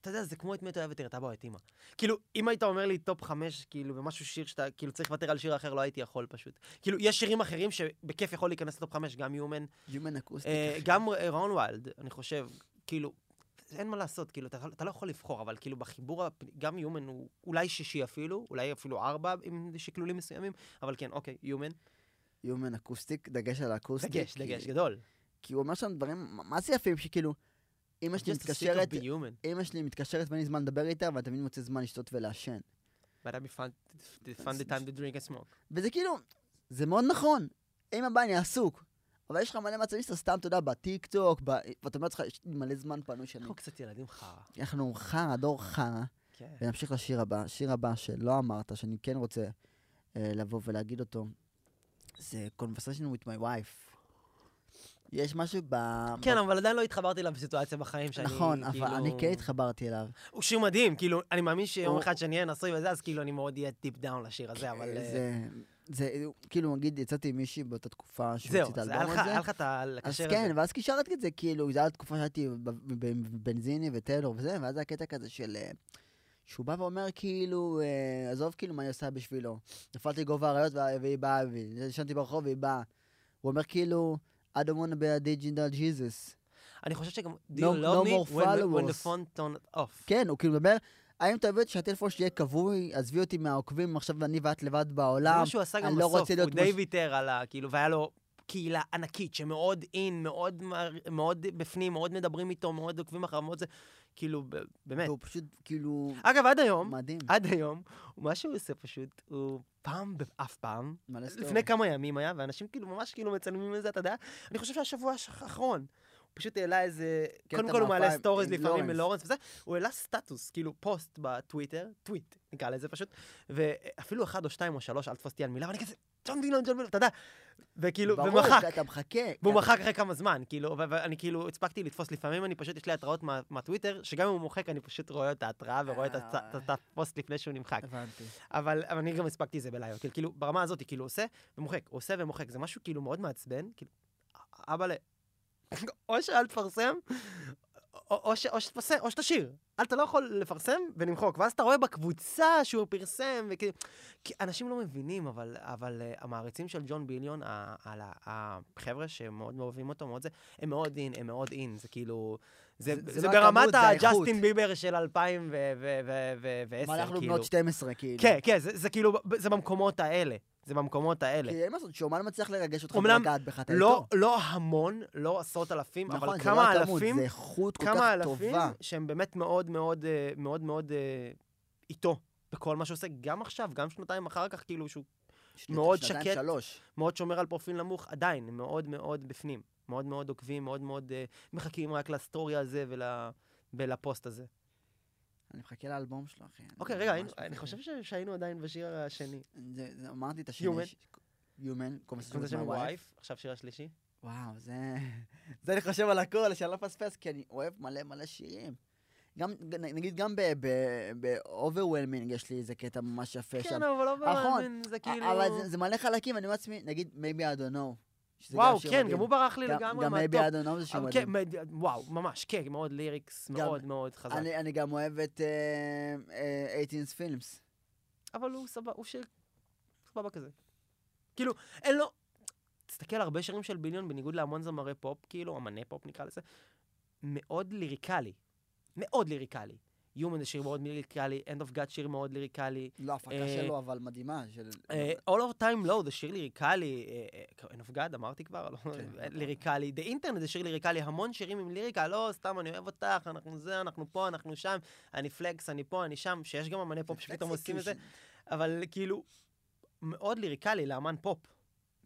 אתה יודע, זה כמו את מי אתה אוהב ותראתה בו את אימא. כאילו, אם היית אומר לי טופ חמש, כאילו, ומשהו שיר שאתה, כאילו, צריך לוותר על שיר אחר, לא הייתי יכול פשוט. כאילו, יש שירים אחרים שבכיף יכול להיכנס לטופ חמש, גם יומן,
Human Acoustic.
אה,
אחי."
גם אה, רון ווילד, אני חושב, כאילו, אין מה לעשות, כאילו, אתה, אתה לא יכול לבחור, אבל כאילו בחיבור, הפ- גם יומן הוא אולי שישי אפילו, אולי אפילו ארבע עם שקלולים מסוימים, אבל כן, אוקיי, יומן.
Human Acoustic, דגש על האקוסטיק.
דגש,
כי-
דגש, גדול.
כי הוא אומר שם דברים, מה זה יפים, שכאילו, אמא שלי
Just a stick of
מתקשרת,
be human.
אמא שלי מתקשרת ואין לי זמן לדבר איתה, ואתה תמיד מוצא זמן לשתות ולעשן.
But I found, found the time to drink and smoke.
וזה כאילו, זה מאוד נכון. אם הבא אני עסוק. אבל יש לך מלא מצבים שאתה סתם, אתה יודע, בטיק טוק, ב... ואתה אומר לך, יש לי מלא זמן פנוי שאני...
אנחנו קצת ילדים חרא.
אנחנו חרא, דור חרא,
כן.
ונמשיך לשיר הבא. שיר הבא שלא אמרת, שאני כן רוצה אה, לבוא ולהגיד אותו, זה Conversation with my wife. יש משהו ב...
כן,
ב...
אבל עדיין לא התחברתי אליו בסיטואציה בחיים שאני,
נכון,
כאילו...
אבל אני כן התחברתי אליו.
הוא שיר מדהים, כאילו, אני מאמין שיום
הוא-
אחד שאני אהיה נשוי וזה, אז כאילו אני מאוד אהיה טיפ דאון לשיר הזה, אבל... אה,
זה, זה, כאילו, נגיד, יצאתי עם מישהי באותה תקופה שהוציא
זהו,
את
אז
האלבום
היה לך-
הזה.
היה לך את ה...
אז
לקשר את
כן,
זה.
ואז קישרתי את זה, כאילו, זו הייתה תקופה שהייתי ב- ב- בבנזיני וטיילור וזה, ואז היה קטע כזה של... אה, שהוא בא ואומר, כאילו, אה, עזוב, כאילו, מה אני עושה בשבילו. נפלתי גובה אריות וה- והיא באה, וישנתי ברחוב והיא באה. הוא אומר, כאילו, I don't want to be a digital Jesus.
אני חושב שגם... Do you
No- no
love me
more
when- when the
followers.
phone turned off.
כן, הוא כאילו מדבר, האם אתה עובד שהטלפון שלי יהיה כבוי, עזבי אותי מהעוקבים, עכשיו אני ואת לבד
זה
בעולם.
מה שהוא עשה
אני
גם
לא
בסוף,
רוצה
הוא
להיות כמו
די
ש-
ויתר על ה... כאילו, והיה לו קהילה ענקית שמאוד אין, מאוד מר- מאוד בפנים, מאוד מדברים איתו, מאוד עוקבים אחריו, מאוד זה... כאילו, ב- באמת. אה,
והוא פשוט, כאילו,
אגב, עד היום,
מדהים.
עד היום, מה שהוא עושה פשוט, הוא פעם באף פעם,
מלא סטורי.
לפני כמה ימים היה, ואנשים כאילו ממש כאילו מצלמים את זה, אתה יודע? אני חושב שהשבוע הש- האחרון. הוא פשוט העלה איזה...
קטע
קודם כל הוא מעלה
מהפעם
סטוריז
עם
לפעמים
לורנס.
מלורנס וזה, הוא העלה סטטוס, כאילו פוסט בטוויטר, טוויט, נקרא לזה פשוט, ואפילו אחד או שתיים או שלוש, אל תפוס אותי על מילה, ואני כזה, ג'ון דילון, ג'ון דילון, אתה יודע. וכאילו,
ברור,
כאילו, ומחק.
אתה מחכה.
והוא
כן.
מחק אחרי כמה זמן, כאילו, ואני כאילו הספקתי לתפוס, לפעמים אני פשוט, יש לי התראות מה- מהטוויטר, שגם אם הוא מוחק, אני פשוט רואה את ההתראה ורואה את הצ-
אה.
את הפוסט לפני שהוא נמחק.
הבנתי.
אבל, אבל אני גם הספקתי את זה בלילה, כאילו, כאילו, ברמה הזאת, כאילו, עושה ומוחק, עושה ומוחק, זה משהו כאילו מאוד מעצבן, כאילו, אבא ל... או שאל תפרסם, או, או, ש, או, שתפרסם, או שתשאיר. אל אתה לא יכול לפרסם ולמחוק, ואז אתה רואה בקבוצה שהוא פרסם, וכאילו... כי אנשים לא מבינים, אבל, אבל uh, המעריצים של ג'ון ביליון, ה- על ה- החבר'ה שמאוד אוהבים אותו, מאוד זה, הם מאוד אין, הם מאוד אין, זה כאילו... זה,
זה-
זה,
זה
זה,
לא הכמות,
ברמת
זה האיכות.
הג'סטין ביבר של 2010,
מה, אנחנו
כאילו.
בנות 12, כאילו.
כן, כן, זה, זה כאילו, ב- זה במקומות האלה. זה במקומות האלה.
כי אין מה לעשות, שאומן מצליח לרגש אותך
כן. אומנם
ולגעת בך, אתה
לא,
איתו.
לא המון, לא עשרות אלפים,
נכון,
אבל
זה לא
כמה
הכמות,
אלפים,
זה איכות כל
כמה
כך
אלפים
טובה.
שהם באמת מאוד מאוד אה, מאוד מאוד אה, איתו בכל מה שעושה, גם עכשיו, גם שנתיים אחר כך, כאילו שהוא
שני-
מאוד
שנתיים,
שקט.
שלוש.
מאוד שומר על פרופיל נמוך, עדיין, הם מאוד מאוד בפנים. מאוד מאוד עוקבים, מאוד מאוד אה, מחכים רק לסטורי הזה ול, ולפוסט הזה.
אני מחכה לאלבום שלו, אחי. אני
אוקיי, רגע,
ממש
היינו, אני
מחכה.
חושב ש- שהיינו עדיין בשיר השני.
זה- זה- אמרתי את השני.
Human.
יומן.
זה שם
קומפסטיון וואי.
וייף, עכשיו שיר השלישי.
וואו, זה... זה אני חושב על הכל, שאני לא אפספס, כי אני אוהב מלא מלא שירים. גם, נ- נגיד, גם ב-overwhelming יש לי איזה קטע ממש יפה שם. נכון.
כן, אבל לא באמת, זה כאילו...
אבל זה- זה מלא חלקים, אני אומר לעצמי, נגיד, maybe I don't know. שזה
וואו,
שיר
כן,
מדהים.
גם הוא ברח לי
גם-
לגמרי
גם
מהטופ.
maybe I don't know זה שיר
אבל
מדהים.
כן, מד- וואו, ממש, כן, מאוד ליריקס,
גם-
מאוד מאוד חזק.
אני, אני גם אוהב את אה, אה, 18's פילמס.
אבל הוא סבבה, הוא שיר סבבה כזה. כאילו, אין לו... תסתכל, הרבה שירים של ביליון, בניגוד להמון זמרי פופ, כאילו, אמני פופ נקרא לזה, מאוד ליריקלי. מאוד ליריקלי. Human זה שיר מאוד ליריקלי, End of God שיר מאוד ליריקלי.
לא, ההפקה
אה,
שלו, אבל מדהימה. של-
אה, All of time low זה שיר ליריקלי, אה, אה, End of God אמרתי כבר, לא,
כן.
ליריקלי, The Internet זה שיר ליריקלי, המון שירים עם ליריקה, לא, סתם, אני אוהב אותך, אנחנו זה, אנחנו פה, אנחנו שם, אני פלקס, אני פה, אני שם, שיש גם אמני פופ שפתאום
כאילו,
עושים את זה,
Execution.
אבל כאילו, מאוד ליריקלי לאמן פופ,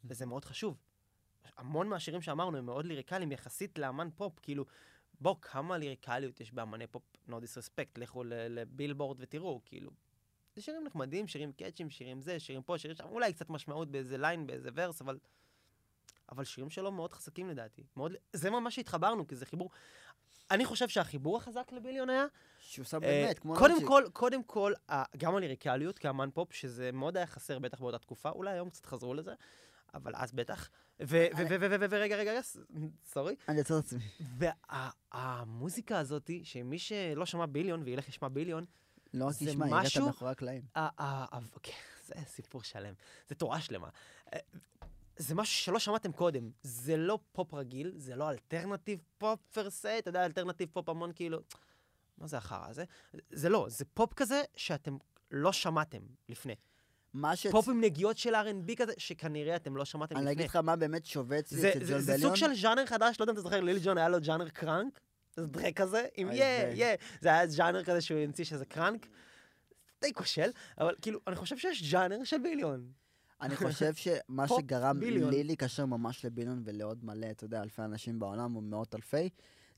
וזה מאוד חשוב. המון מהשירים שאמרנו הם מאוד ליריקליים יחסית לאמן פופ, כאילו, בוא, כמה ליריקליות יש באמני פופ, no disrespect, לכו ל- לבילבורד ותראו, כאילו. זה שירים נחמדים, שירים קאצ'ים, שירים זה, שירים פה, שירים שם, אולי קצת משמעות באיזה ליין, באיזה ורס, אבל... אבל שירים שלו מאוד חזקים לדעתי. מאוד... זה ממש שהתחברנו, כי זה חיבור... אני חושב שהחיבור החזק לביליון היה
שהוא שם
אה,
באמת, כמו...
קודם
לוג'יק.
כל, קודם כל, ה- גם הליריקליות כאמן פופ, שזה מאוד היה חסר בטח באותה תקופה, אולי היום קצת חזרו לזה, אבל אז בטח. ו-
אה,
ו- ו- ו- ו- ו- ורגע, רגע, רגע, ס- סורי.
אני אעצור את עצמי.
והמוזיקה הזאת, שמי שלא שמע ביליון וילך לשמע ביליון,
לא רק
זה
תשמע, הגעת
משהו-
מאחורי הקלעים.
ה- ה- ה- כן, זה סיפור שלם, זה תורה שלמה. אה, זה משהו שלא שמעתם קודם, זה לא פופ רגיל, זה לא אלטרנטיב פופ פרסה, אתה יודע, אלטרנטיב פופ המון כאילו, מה זה החרא הזה? זה לא, זה פופ כזה שאתם לא שמעתם לפני.
מה ש...
פופ עם נגיעות של R&B כזה, שכנראה אתם לא שמעתם
אני אגיד
לפני.
לך מה באמת שובץ לי
זה,
אצל
זה,
ג'ון
זה
בליון.
סוג של ז'אנר חדש, לא יודע אם אתה זוכר, ליל ג'ון היה לו ז'אנר קראנק, זה דרק כזה, עם
אוי
יא,
ווי.
יא, אה, זה היה ז'אנר כזה שהוא המציא שזה קראנק, די כושל, אבל כאילו, אני חושב שיש ז'אנר של ביליון.
אני חושב שמה
פופ
שגרם
ביליון.
לי להיקשר ממש לביליון ולעוד מלא, אתה יודע, אלפי אנשים בעולם, או מאות אלפי,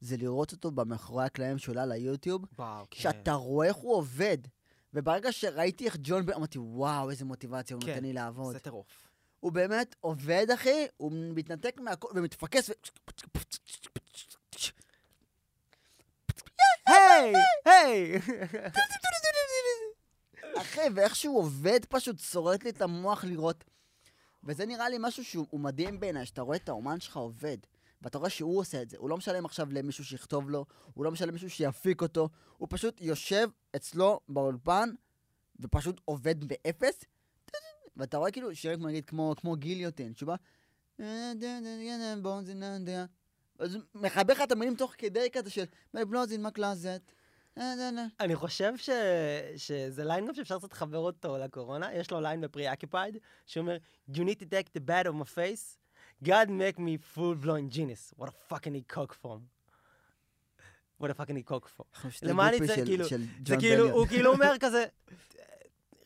זה לראות אותו במאחורי הקלעים שעולה ליוטיוב,
וואו, כן.
שאתה רואה איך הוא עובד. וברגע שראיתי איך ג'ון בן, אמרתי, וואו, איזה מוטיבציה הוא
כן,
נותן לי לעבוד.
זה טירוף.
הוא באמת עובד, אחי, הוא מתנתק מהכל ומתפקס ו...
היי, היי!
אחי, ואיך שהוא עובד פשוט שורט לי את המוח לראות. וזה נראה לי משהו שהוא הוא מדהים בעיניי, שאתה רואה את האומן שלך עובד. ואתה רואה שהוא עושה את זה. הוא לא משלם עכשיו למישהו שיכתוב לו, הוא לא משלם למישהו שיפיק אותו, הוא פשוט יושב אצלו באולפן, ופשוט עובד באפס. ואתה רואה כאילו שירים נגיד כמו, כמו גיליוטין, שבא... "אה, אז הוא מחבר לך את המילים תוך כדי כזה של... בלוזין מקלזת. אה,
אני חושב ש... שזה ליין גם שאפשר קצת לחבר אותו לקורונה, יש לו ליין בפרי-אקיפייד, שאומר, You need to take the bad of my face, God make me full blown genius, what a fucking he cock from. what a fucking he cock from. למה אני צריך, כאילו, זה כאילו, הוא כאילו אומר כזה,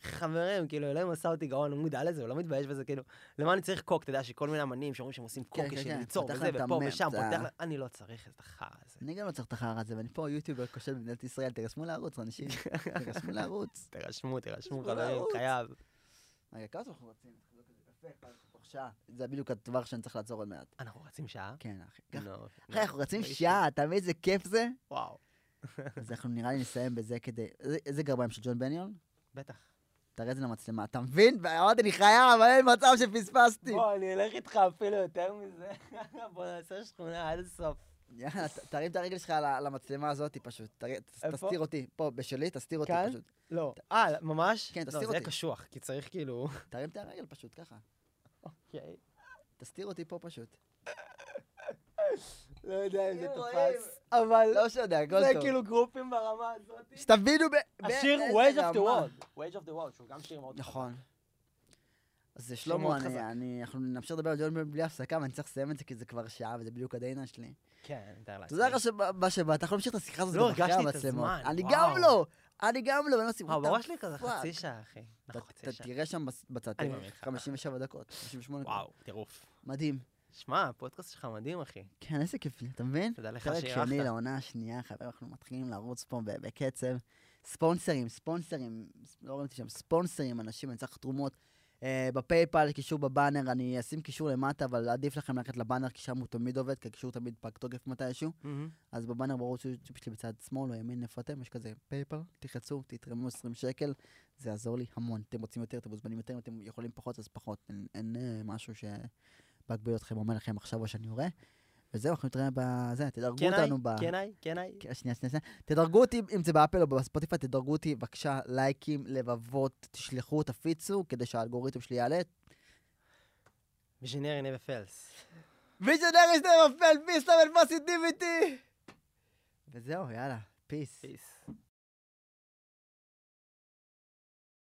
חברים, כאילו, אלוהים עשה אותי גאון, הוא מודע לזה, הוא לא מתבייש בזה, כאילו, למה אני צריך קוק? אתה יודע שכל מיני אמנים שאומרים שהם עושים
כן,
קוק
כן,
כדי
כן,
ליצור,
פותח
וזה,
להם את
ופה
המם,
ושם,
זה
פותח,
ה-
אני לא צריך את החרא הזה.
אני גם לא צריך את החרא הזה, ואני פה יוטיובר כושל במדינת ישראל, תירשמו לערוץ, אנשים, תירשמו לערוץ.
תירשמו, תירשמו,
זה לא
חברים,
ערוץ.
חייב.
רגע, כמה זמן אנחנו רצים? יפה, אנחנו כבר שעה. זה בדיוק הטווח שאני צריך לעצור עוד מעט.
אנחנו רצים שעה?
כן, אחי. ככה.
לא.
אחי, אנחנו רצים
לא אישי.
שעה, אתה מבין איזה כיף זה?
וואו.
אז אנחנו נראה לי נסיים בזה כדי... זה- זה גרביים של ג'ון בניון?
בטח.
תראה את זה למצלמה, אתה מבין? אמרתי, אני חייב, אבל אין מצב שפספסתי.
בוא, אני אלך איתך אפילו יותר מזה. בוא נעשה שכונה עד הסוף.
יאללה, ת- תרים את הרגל שלך על ה- על המצלמה הזאת פשוט. תראה- ת-
איפה?
תסתיר אותי. פה, בשלי, תסתיר אותי
כאן?
פשוט.
לא. אה, ממש?
כן, תסתיר
לא, זה
אותי.
יהיה קשוח, כי צריך כאילו...
תרים את הרגל פשוט, ככה. כן.
אוקיי.
תסתיר אותי פה פשוט.
לא יודע אם
זה
זה
תפס,
תפס, אבל
לא יודע, הכל
זה
טוב.
כאילו גרופים ברמה הזאת.
שתבינו ב- ב-
השיר
באיזה
Wage of the
רמה.
World. Wage of the World, שהוא גם שיר מאוד חזק.
נכון. אז זה
שיר
שלמה,
מאוד
אני-
חזק.
אני- אנחנו נמשיך לדבר על ג'ון בן בלי הפסקה, ואני צריך לסיים את זה כי זה כבר שעה וזה בדיוק הדיינה שלי.
כן, אני מתאר לעצמי.
תודה לך שבא שבאת, אנחנו נמשיך את השיחה הזאת
לא
גם אחרי
הרגשתי את
המצלמות.
הזמן,
אני
וואו.
גם לא, אני גם לא, ואין עושים
אה,
אותה.
בראש לי כזה
פאק.
חצי שעה, אחי.
אתה-
אנחנו חצי
אתה
שעה.
תראה שם בס- בצד,
אני
תראה,
מאמין לך.
57 דקות, 58 דקות.
וואו, טירוף.
מדהים.
שמע, הפודקאסט שלך מדהים, אחי.
כן, איזה כיף לי, אתה מבין?
תודה לך
פרק שני לא.
שאירחת.
לעונה השנייה, חברים, אנחנו מתחילים לרוץ פה ב- בקצב. ספונסרים, ספונסרים, ס- לא ראיתי שם, ספונסרים, אנשים, אני צריך תרומות. אה, בפייפל, קישור בבאנר, אני אשים קישור למטה, אבל עדיף לכם ללכת לבאנר, כי שם הוא תמיד עובד, כי הקישור תמיד פג תוקף מתישהו.
מהמם.
אז בבאנר בערוץ היוטיוב שלי בצד שמאל או ימין, איפה אתם? יש כזה פייפל, תחצו, תתרמו 20 שקל, זה יעזור לי המון. אתם רוצים יותר, אתם מוזמנים יותר, אם אתם יכולים פחות, אז פחות. אין, אין אה, משהו שמגביל אתכם, אומר לכם עכשיו או שאני יורה. וזהו, אנחנו נתראה בזה, תדרגו
כן, היי,
אותנו ב...
כן, היי, כן, היי.
כן, שנייה, שנייה, שנייה. תדרגו אותי, אם זה באפל או בספוטיפיי, תדרגו אותי, בבקשה, לייקים, לבבות, תשלחו, תפיצו, כדי שהאלגוריתם שלי יעלה.
מישנרי נבה פלס.
ויז'נרי שאתה מפל, פיס למל פוסיטיביטי! וזהו, יאללה, פיס.
פיס.